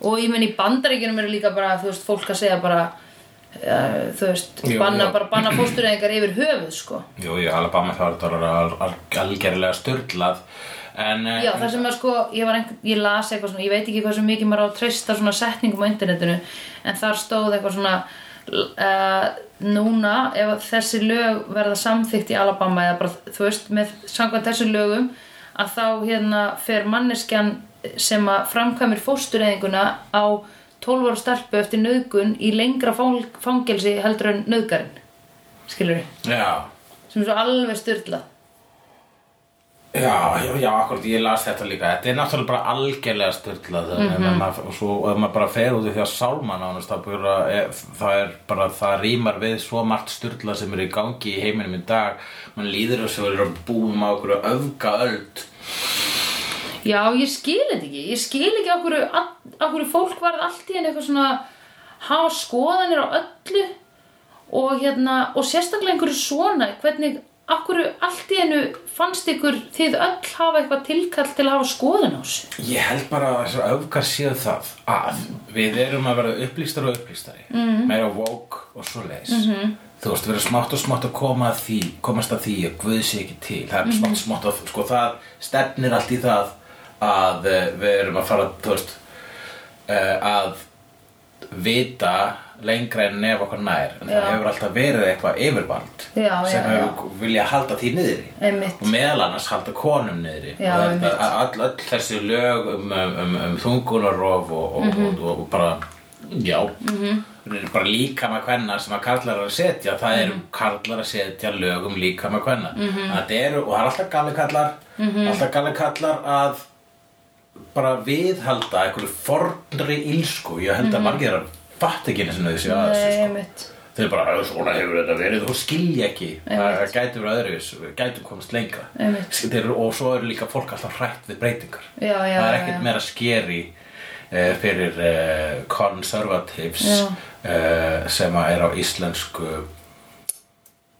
Og ég menn í bandaríkjunum eru líka bara, þú veist, fólk að segja bara, uh, þú veist, Jú, banna, já. bara banna fóstureyðingar yfir höfuð, sko. Jú, í Alabama þá er þetta alveg al- algerlega störlað en eh, Já, það sem að sko, ég var einhvern, ég las eitthvað svona, ég veit ekki hvað sem mikið maður á að treysta svona setningum á internetinu, en þar stóð eitthvað svona, uh, núna, ef að þessi lög verða samþykkt í Alabama eða bara, þú veist, með samkvæmt þessu lögum, að þá hérna fer manneskjan sem að framkvæmir fóstureyðinguna á 12 ára stelpu eftir nöðgun í lengra fang- fangelsi heldur en nöðgarinn, skilur við, já. sem er svo alveg styrlað. Já, já, já, akkurat, ég las þetta líka Þetta er náttúrulega bara algjörlega styrlað mm Mhm. -hmm. og svo ef maður bara fer út í því að sálma nánast það, bara, eh, það er bara, það rýmar við svo margt styrlað sem er í gangi í heiminum í dag mann líður þess að við erum búum á okkur öfgaöld Já, ég skil þetta ekki. Ég skil ekki af hverju, all- af hverju fólk varð allt í henni eitthvað svona hafa skoðanir á öllu og, hérna, og sérstaklega einhverju svona hvernig, af hverju allt í hennu fannst ykkur þið öll hafa eitthvað tilkall til að hafa skoðan á þessu. Ég held bara að þessar öfgar séu það að við erum að vera upplýstari og upplýstari Mhm. -hmm. meira woke og svo leis -hmm. þú veist, við erum smátt og smátt að koma að því komast að því að guð sé ekki til það er Mhm. smátt og smátt að, sko, það stefnir allt í það að eh, við erum að fara, þú veist eh, að vita lengra en nef okkar nær en það Já. hefur alltaf verið eitthvað yfirvald Já, sem já, hefur viljað halda því niðri Einmitt. og meðal annars halda konum niðri Já, Og þetta- einmitt. all, all þessi lög um, um, um, um þungunarof og, og, Mhm. og, og bara já mm -hmm. bara líkama kvenna sem að karlar eru að setja það Mhm. eru karlar að setja lög um líkama kvenna mm -hmm. eru, og það er alltaf galli kallar Mhm. alltaf galli kallar að bara viðhalda einhverju fornri ílsku ég held að margir að fatta ekki einu sinni þessi að Mhm. þessu Nei, sko einmitt. þau bara, "Já, svona hefur þetta verið og skilja ekki, það gæti verið öðruvis gæti komast lengra Einmitt. Þeir eru, og svo eru líka fólk alltaf hrætt við breytingar Já, já, það er já, ekkert já. meira skeri eh, fyrir eh, conservatives Já. eh, sem að er á íslensku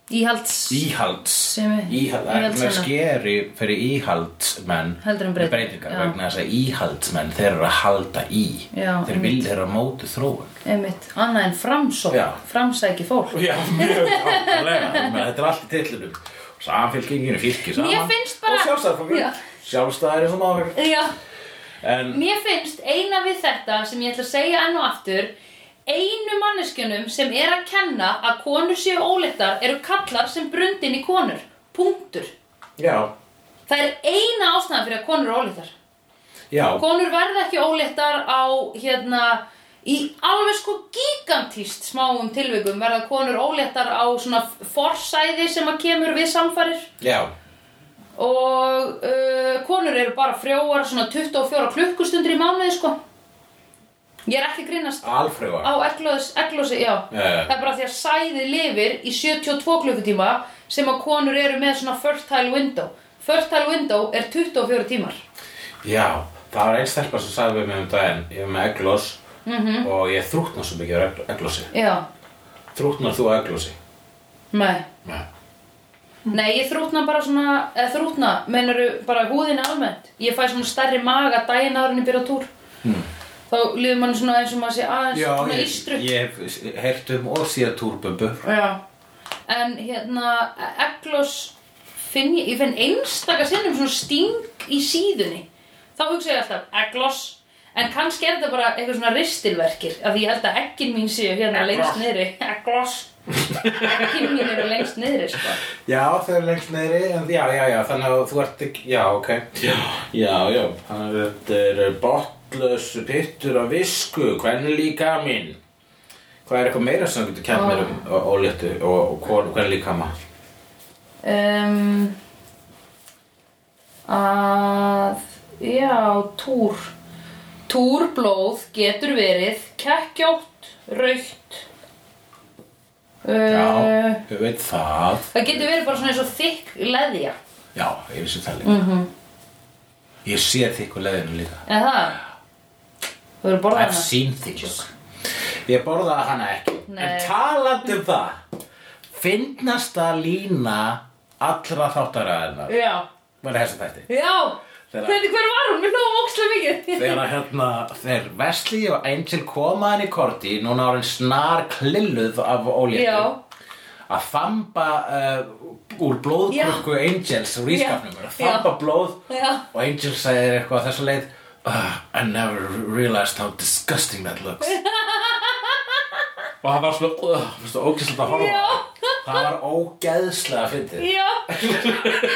Íhalds. íhalds Sem er- íhald, það er ekkert meira íhaldsmenn. skeri fyrir íhaldsmenn Heldur en breyting- breytingar já. vegna þess að íhaldsmenn þeir eru að halda í Já, þeir einmitt. vilja þeirra móti þróun Einmitt. Annað en framsók. Já. Framsæki fólk. Já, mjög ákveðlega Þetta er allt í tillunum Samfélkinginu fylki saman Mér finnst bara- Já. Og sjálfstæðarfólk Sjálfstæðar er svona áfengur Já. En Mér finnst eina við þetta sem ég ætla að segja enn og aftur einu manneskjunum sem er að kenna að konur séu óleittar eru kallar sem brundin í konur. Punktur. Já, Það er eina ástæðan fyrir að konur eru óleittar. já, Konur verða ekki óléttar á hérna í alveg sko gigantíst smáum tilvikum verða konur óléttar á svona forsæði sem að kemur við samfærir já, og uh, konur eru bara frjóar svona 24 klukkustundir í mánuði sko ég er ekki að grínast á alfrjóa eglóðs, eglóðsi, já Já, já. það er bara því að sæði lifir í 72 klukkutíma sem að konur eru með svona fertile window fertile window er 24 tímar Já, það var einn stelpa sem sagði við mig um daginn Ég er með eglós Mhm. -hmm. og ég þrútna svo mikið á eglósi já, Þrútnar þú á eglósi? með Nei Nei, ég þrútna bara svona, eða þrútna, meinaru bara húðin almennt. Ég fæ svona stærri maga daginn áður en ég byrja á túr. Hmm. Þá líður mann svona eins og maður sé aðeins Já, svona ég, ístru. ég hef heyrt um og síða túrbömbu Já. En hérna, eglós finn ég, ég finn einstaka sinnum svona sting í síðunni. Þá hugsa ég alltaf, eglós. En kannski er þetta bara eitthvað svona ristilverkir. Af því ég held að eggin mín séu hérna Egglos. lengst niðri. Eglós. eggin mín eru lengst niðri, sko. Já, þau eru lengt neyri, en já, já, já, þannig að þú ert ekki, já, ok. Já, já, já, þannig að þetta er botlaus pittur af visku, hvernig líka minn? Hvað er eitthvað meira sem þú getur kæmt mér um ó- óléttu og, og hvernig líka maður? um, að já, túr túrblóð getur verið kekkjótt, raukt uh, Já, ég veit það. það getur verið bara svona eins og þykk leðja Já, ég vissi það líka. Mm -hmm. Ég sé þig úr leðinu líka. eða það þú verður borðað I've hana seen things Ég borðaði hana ekki Nei. En talandi um það Finnasta lína allra þáttaraðina já, Var þessi þætti já Þegar- Hvernig, hver var hún? Mér hlóðum ókslega (laughs) mikið Þegar að, hérna, þegar Vesli og Angel koma hann í korti Núna ára hann snar klilluð Já, af óléttu Að þamba uh, úr blóðkrukku Angels úr ískapnum Já. Að þamba blóð já, Og Angel segir eitthvað þessu leið uh, I never realized how disgusting that (laughs) looks Og það var svona uh, Vistu, ógeðslega að horfa á Já. það. Það var ógeðslega að fyndið já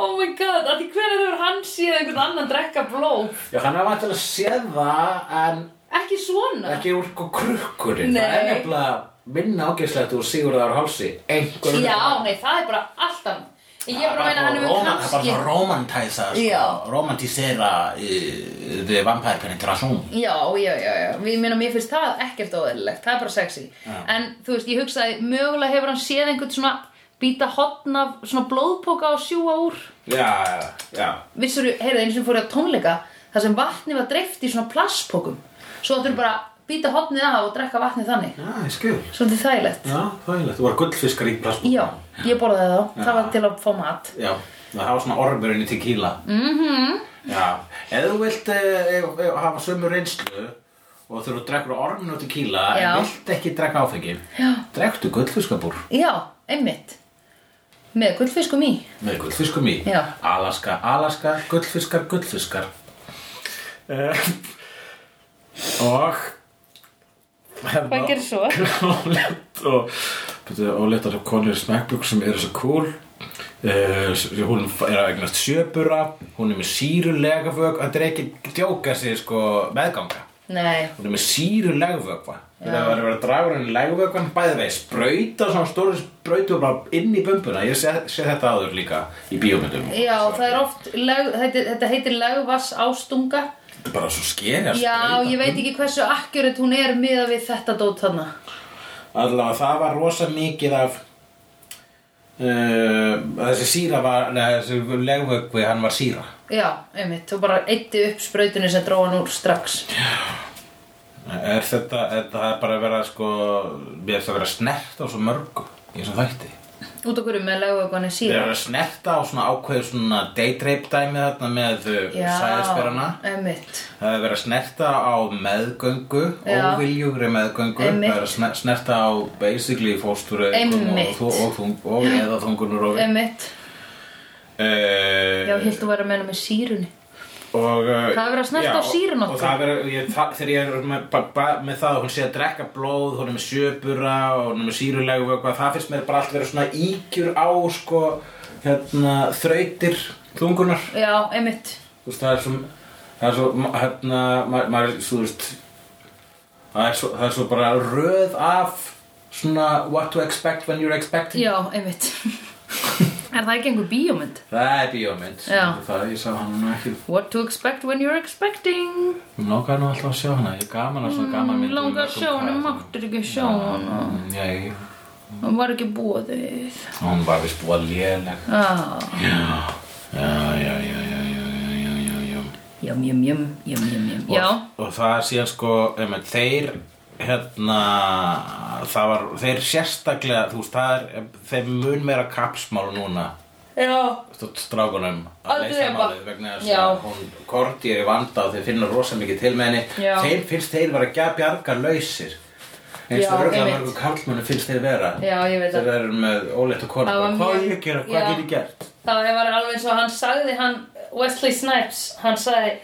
Oh my god, að því hvernig hefur hann séð einhvern annan drekka blóð Já, hann er vantilega að sé það En Ekki svona? ekki úr sko krukkurinn Það er Nei. nefnilega minna ógeðslega Þú Sigurðar hálsi Einhver Já, nei, það er bara allt annað. Ég er bara að meina að hann hefur Róman- Það er kannski... bara romantæsa Já. sko, Romantísera uh, The Vampire Penetration Já, já, já, já. Við meina, mér finnst það ekkert óðurlegt. Það er bara sexy. En, þú veist, ég hugsaði, mögulega hefur hann séð einhvern svona býta hotn af svona blóðpoka og sjúa úr. Já, já, já Vissur, heyrðu, eins og fór ég á tónleika, þar sem vatni var dreift í svona plastpokum. Svo áttur bara að býta hotnið af og drekka vatnið þannig. Já, ég skil Svolítið þægilegt. Já, þægilegt, þú var gullfiskar í plastbúk Já, ég borðaði þá. Það var til að fá mat. Já, það var svona ormurinn í tequila Mhm Já, ef þú vilt e, e, hafa sömu reynslu og þegar þú drekkur ormurinn og tequila Já. en vilt ekki drekka áfengi Já. Drekktu gullfiskabúr Já, einmitt. Með gullfiskum í. með gullfiskum í Já. Alaska, Alaska, gullfiskar, gullfiskar Eh, Og Hvað gerir svo? (laughs) ólétt og byrju, ólétt að konur í smekkbjúk sem eru svo cool uh, hún er að eignast sjöbura hún er með síru legafög þetta er ekki djóka sig sko meðganga Nei. hún er með síru legafögva það var að vera dragurinn legafögvan bæði vegi sprauta svona stóru sprautu bara inn í bumbuna ég sé, sé þetta áður líka í bíómyndum Já, það er oft, lög, þetta, þetta heitir lögvass ástunga. þetta er bara svo skeri að Já, sprauta ég veit ekki hversu akkurat hún er miða við þetta dót þarna. Allavega það var rosa mikið af uh, þessi síra var, neða þessi legvögvi hann var síra Já, einmitt, þú bara eitti upp sprautunni sem dróða hann úr strax. Er þetta, er þetta er bara að vera sko, við erum að vera snert á svo mörgu í þessum þætti Út af hverju með lögvögunni Við erum síðan. að vera snert á svona ákveðu svona daydrape dæmi þarna með uh, sæðisperana einmitt. Það er verið að snerta á meðgöngu, Já. óviljugri meðgöngu, það Einmitt. er að sne- snerta á basically fóstureykum og, Einmitt. þú- og, þung- og eða þungunur og... Einmitt. Uh, Eh. Já, ég held þú væri að meina með sírunni. og, uh, Það er verið að snerta já, á sýrunni og okkar. það er verið, að- ég, það, þegar ég er með, ba, ba, með það að hún sé að drekka blóð hún er með sjöpura og hún er með sýrulegu og eitthvað, það finnst mér bara allt verið svona ígjur á sko, hérna, þrautir þungunar Já, einmitt Þú veist, það er svo, það er svo, ma- hérna, ma- maður, er- þú veist, það er svo, það er svo bara röð af svona what to expect when you're expecting. Já, einmitt (laughs) Er það ekki einhver bíómynd? Það er bíómynd. Já. Það, ég sá hann nú ekki, What to expect when you're expecting mér langaði nú alltaf að sjá hana, ég er gaman að svona gaman mynd. Langar Mm, að sjá hann, máttur ekki sjá hann Já, ég, Hann var ekki búið hún var vist búið léleg. Ah, Já, já, já, já, já, já, já, já, já. jam, jam, jam, jam, jam, jam og, Já, og það er síðan sko um, þeir hérna það var, þeir sérstaklega þú veist, það er, þeir mun meira kapsmál núna já, þú veist, strákunum að Að leysa drepa. málið vegna þess Já. að hún korti er í vanda og þeir finna rosa mikið til með henni Já. þeir finnst þeir vera að bjarga lausir eins Já, og örgulega einmitt. mörgum karlmönnum finnst þeir vera Já, ég veit það. þeir eru með óleitt og Það konur var bara, hvað á mjög- ég að gera, hvað Já. get ég gert (laughs) það var alveg eins og hann sagði hann, Wesley Snipes, hann sagði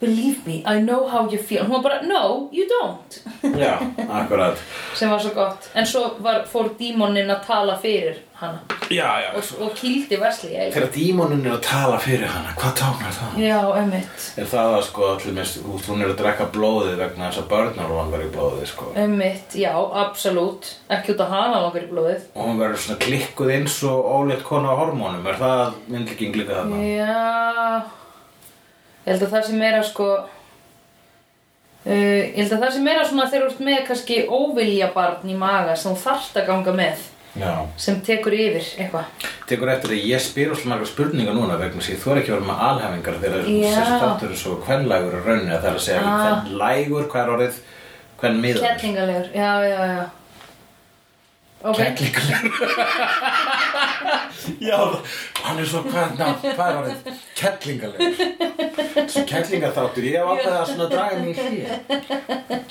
Believe me, I know how you feel Hún var bara, no, you don't já, akkurat Sem var svo gott En svo var, fór dímonin að tala fyrir hana já, já, Og, og kýldi Wesley eiginlega. þegar dímonin er að tala fyrir hana hvað táknar það? Já, emmitt Er það að sko allir með, út, hún er að drekka blóðið vegna þess að börnar hún verið í blóðið sko Eh. Emmitt, já, absolút Ekki út að hana langar í blóðið Og hún verður svona klikkuð eins og ólétt konu á hormónum, er það myndlíking líka Eh. þarna? Já Ég held að það sem meira sko uh, Ég held að það sem meira svona þegar þú ert með kannski óviljabarn í maga sem þú þarft að ganga með Já sem tekur yfir eitthvað Tekur eftir að ég spyr óslega margar spurningar núna vegna sér, þú er ekki að vera með alhæfingar þegar Já. þessi þáttur er svo kvenlægur að raunni að það er að segja Ah. kvenlægur, hvað er orðið, hvern miður? Kellingalegur, já, já, já Ok, (laughs) Kellingar Já, hann er svo hvað, ná, hvað er orðið? Kellingarlegur Svo kellingarþáttur, ég hef ákveðið að svona draga mig í hlýja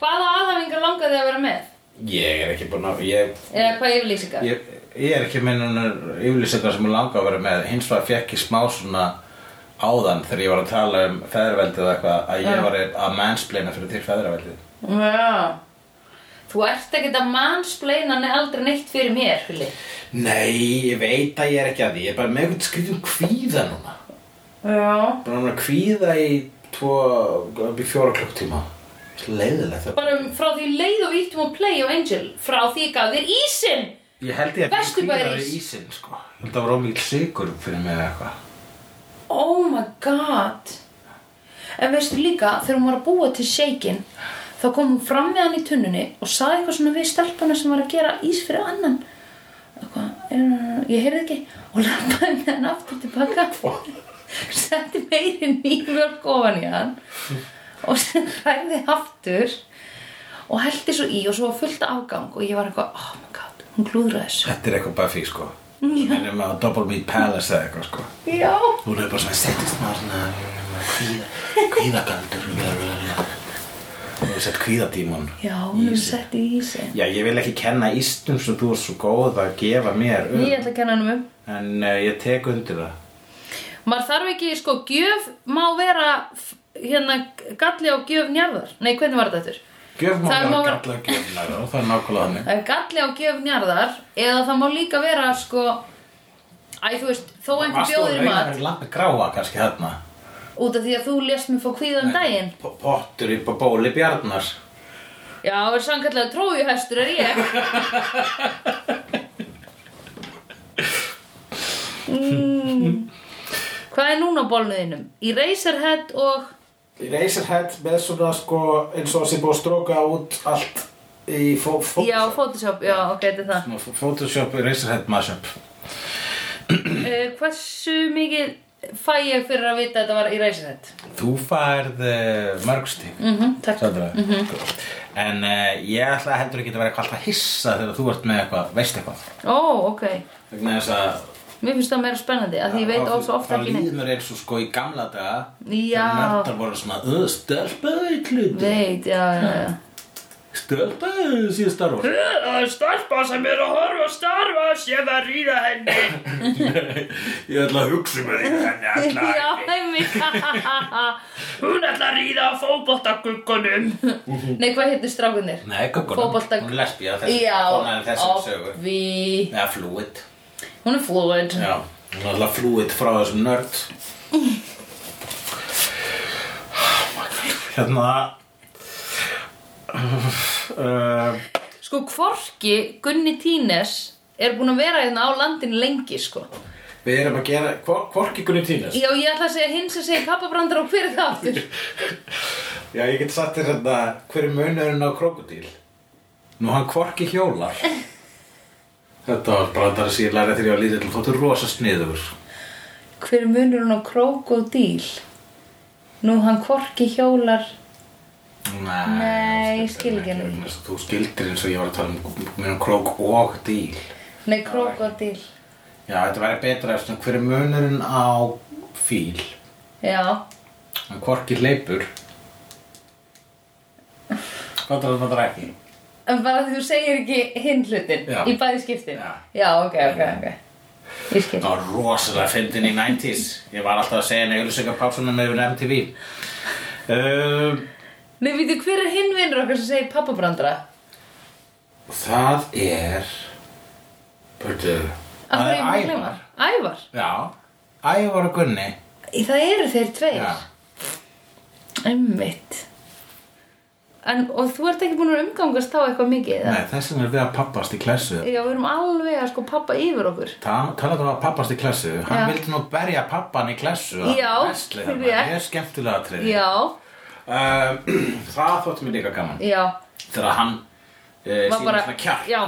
hvaða aðhæfingar langaði að vera með? Ég er ekki búinn að, ég, Eða hvað yfirlýsingar? ég, ég er ekki með hennar yfirlýsingar sem ég langa að vera með hins vegar fekk ég smá svona áðan þegar ég var að tala um feðraveldið eða eitthvað að ég Já. var að mansplaina fyrir til feðraveldið Já Þú ert ekkert að mannsplaina ne- aldrei neitt fyrir mér, Hulli Nei, ég veit að ég er ekki að því, ég er bara með einhvern skrifum kvíða núna Já Bara núna kvíða í tvo, upp í fjóra klukktíma Leiðilegt það Bara um frá því leið og íttum að play á Angel Frá því ég gaf þér ísinn Ég held ég að Vestu ég kvíða París. í ísinn, sko Ég held að var ómikið sigur fyrir mig eða eitthvað Oh my god En veistu líka, þegar hún var að búa til shakein þá kom hún fram með hann í tunnunni og saði eitthvað svona við stelpana sem var að gera ís fyrir annan eitthvað, eh, ég heyrði ekki og lappaði með hann aftur tilbaka setti meiri nýmjörg ofan í hann og (laughs) sem ræði aftur og heldi svo í og svo var fullt af afgang og ég var eitthvað, oh my god, hún glúðraði þessu Þetta er eitthvað Buffy, sko Þannig að maður Double Meat Palace eða eitthvað, sko Já, Hún er bara svona settist maður svona hérna, kvíða, kvíðagaldur Hún er sett kvíðatíman já, hún er sett í ísi Já, ég vil ekki kenna ístum sem þú er svo góð að gefa mér um Ég ætla að kenna hann um En uh, ég tek undir það maður þarf ekki, sko, gjöf má vera f- hérna galli á gjöf njarðar nei, hvernig var þetta þetta? Gjöf má Það vera má vera- galla gjöfnar og það er nákvæmlega þannig það er Eh, galli á gjöf njarðar eða það má líka vera, sko æ, þú veist, þó einhver bjóðir mat Lampi gráa kannski þarna út af því að þú lést mér fá kvíðan daginn P- Pottur í b- bóli bjarnar já, er sannkallega trójuhestur er ég mm. hvað er núna á bólnuðinum? í Razorhead og Razorhead með svona sko eins og sem búið að stróka út allt í fó, fó, já, Photoshop, já, ok, þetta er það Photoshop Razorhead mashup Uh, hversu mikið fæ ég fyrir að vita að þetta var í reysið Þú færð uh, mörgstík mm -hmm, Takk mm -hmm. En uh, ég ætla heldur ekki að vera eitthvað alltaf hissa þegar þú ert með eitthvað, veist eitthvað Ó, ok Vegna þess að Mér finnst það meira spennandi að því ég veit ós ofta Það ekki neitt líður mér eins og sko í gamla daga Já. Þegar nördar voru svona, öð, stelpa veit hluti Veit, já, já, já Stölda síðan Star Wars Það er starpa sem er að horfa starfa sem að ríða henni (laughs) Ég ætla að hugsa um mér í henni ætla (laughs) Já, einmitt (laughs) Hún ætla að ríða á fótboltaguggunum (laughs) Nei, hvað hittu strákunir? Nei, kökkunum, Fótbolta- hún er lesbía þessi Já, Konan er þessum sögu obvi Eða fluid Hún er fluid Já, hún er alltaf fluid frá þessum (laughs) nörd Hérna uh, Sko, hvorki Gunni Tínes er búin að vera hérna á landin lengi, sko Við erum að gera, hvor- hvorki Gunni Tínes Já, ég ætla að segja hins að segja kappabrandar og hver er það aftur? Já, ég get sagt þér þetta, hver er munurinn á krokodíl? Nú hann kvorki hjólar. (laughs) þetta var brandar sem ég lærið þegar ég var lítill, þóttu rosa sniður. Hver munur hún á krókódíl? Nú, hann hvorki hjólar Nei, Nei, ég skil ekki ekki, alveg. vegna þess að Þú skildir eins og ég var að tala um, um krók og díl. Nei, krókódíl Já, þetta væri betra eftir hver er munurinn á fíl. Já, Hann kvorki hleypur. Hvað er þetta ekki? en bara því þú segir ekki hinn hlutin Já. í bæði skiptin Já. ok, ok, ok Ég skil Það var rosalega fyndin í 90s. Ég var alltaf að segja henni auðvitað með yfir MTV. Um, Nei, veitu, hver er hinn vinnur okkar sem segir pappabrandara? það er... Börðu... Af hverju er ég búin að gleyma? Ævar? Já. Ævar og Gunni. Í, Það eru þeir tveir Já. Einmitt en, Og þú ert ekki búin að umgangast þá eitthvað mikið eða? Nei, þess vegna er við að pappast í klessu. Já, við erum alveg að sko pappa yfir okkur Ta- Talandi um að pappast í klessu, hann Já. vildi nú berja pappan í klessu Já, það rétt. er skemmtilega atriði Já, um, (clears throat) Það þótti mér líka gaman já Þegar hann uh, Var sýnir svona kjark Já,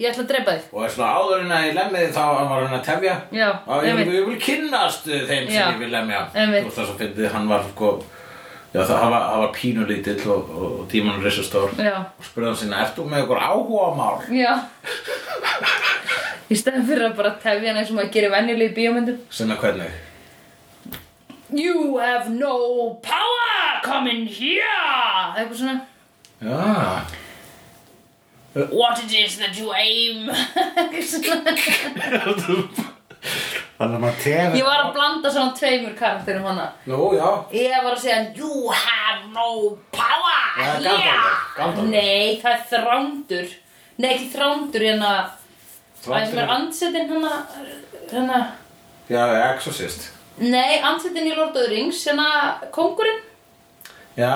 ég ætla að drepa þig og er svona áður en að ég lemmi þig þá var hann að tefja Já, og ég, einmitt. ég vil kynnast uh, þeim sem Já, ég vil lemja einmitt. og það svo fyndið hann var sko já, það hann var, hann var pínulítill og, og, og tímanum risastór Já. og spurði hann sinna, ert þú með ykkur áhuga mál? Já Í stæðan fyrir að bara tefja hann eins og maður gerir venjulega í bíómyndum Sinna hvernig? You have no Power, come in here Eitthvað svona Já, What it is that you aim (laughs) Eitthvað svona (laughs) þannig að maður tefja Ég var að blanda svona tveimur karakterum hana Nú, já, Ég var að segja You have no power það er Gandalf Gandalf Nei, það er þrándur Nei, ekki þrándur en að Það sem Þrándur- er hérna, andsetin hana Hana Já, Exorcist Nei, andsetin í Lord of the Rings Hana kóngurinn Já,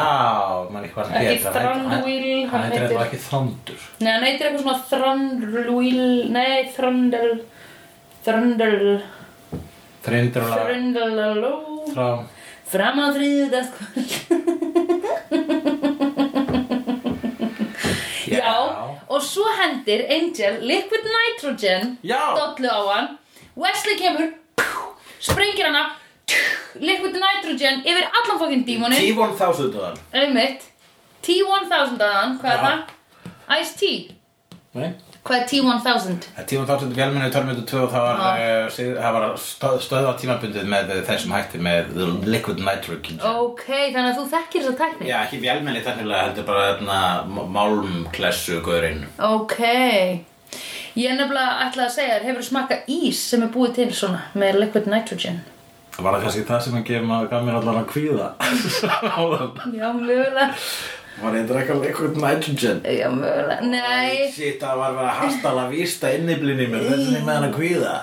mann ekki hvað hann Ekki heitir Hann- Thranduil, hann Hann heitir heitir- eitthvað ekki Thrandur Nei, hann heitir eitthvað svona Þrandrúil Nei, Þrandal Þrandal Thrindur Þrandalaló Thram Fram á þriðudagskvöld Já. Já, og svo hendir Angel liquid nitrogen Já. dollu á hann Wesley kemur, springir hana liquid nitrogen yfir allan fokkinn dímonin Tífon þásundar einmitt, T-1000 að hann, hvað er Já. það? Ice-T, Nei hvað er T-1000? Tífon þásundar velmenni Törmyndu 2 og það var, eh, síð- það var stöð, stöða tímabundið með þessum hætti með the Liquid Nitrogen Ok, þannig að þú þekkir þessa tækni Já, ekki velmenni þennilega heldur bara þarna málmklessu gaurinn Ok Ég er nefnilega ætlaði að segja þér, hefur smakka ís sem er búið til svona með liquid nitrogen? Var það kannski það sem hann gef, maður- gaf mér allan að kvíða Áðan. Já, mögulega (laughs) Var eitthvað eitthvað Liquid Nitrogen Já, mögulega, (laughs) nei (laughs) Shit, það var verið að hastala vísta inniblinni mér, þess að ég með hann að kvíða.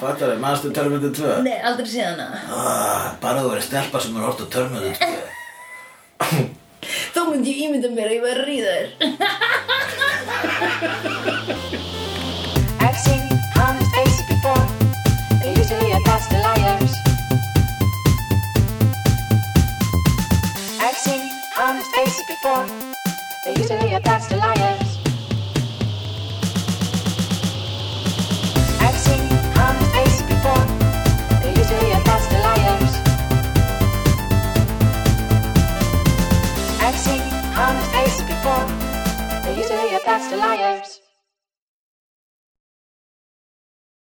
Fattar þið, mannstu törmyndu 2? Nei, aldrei séð hana Ah, bara þú verið stelpa sem er hort á törmyndu 2. Þá myndi ég ímynda mér að ég væri að ríða þér I've seen honest faces before. They're usually a pass to liars. I've seen honest faces before. They're usually a pass to liars. I've seen honest faces before. They're usually a pass to liars. I've seen honest faces before. They're usually a pass to liars.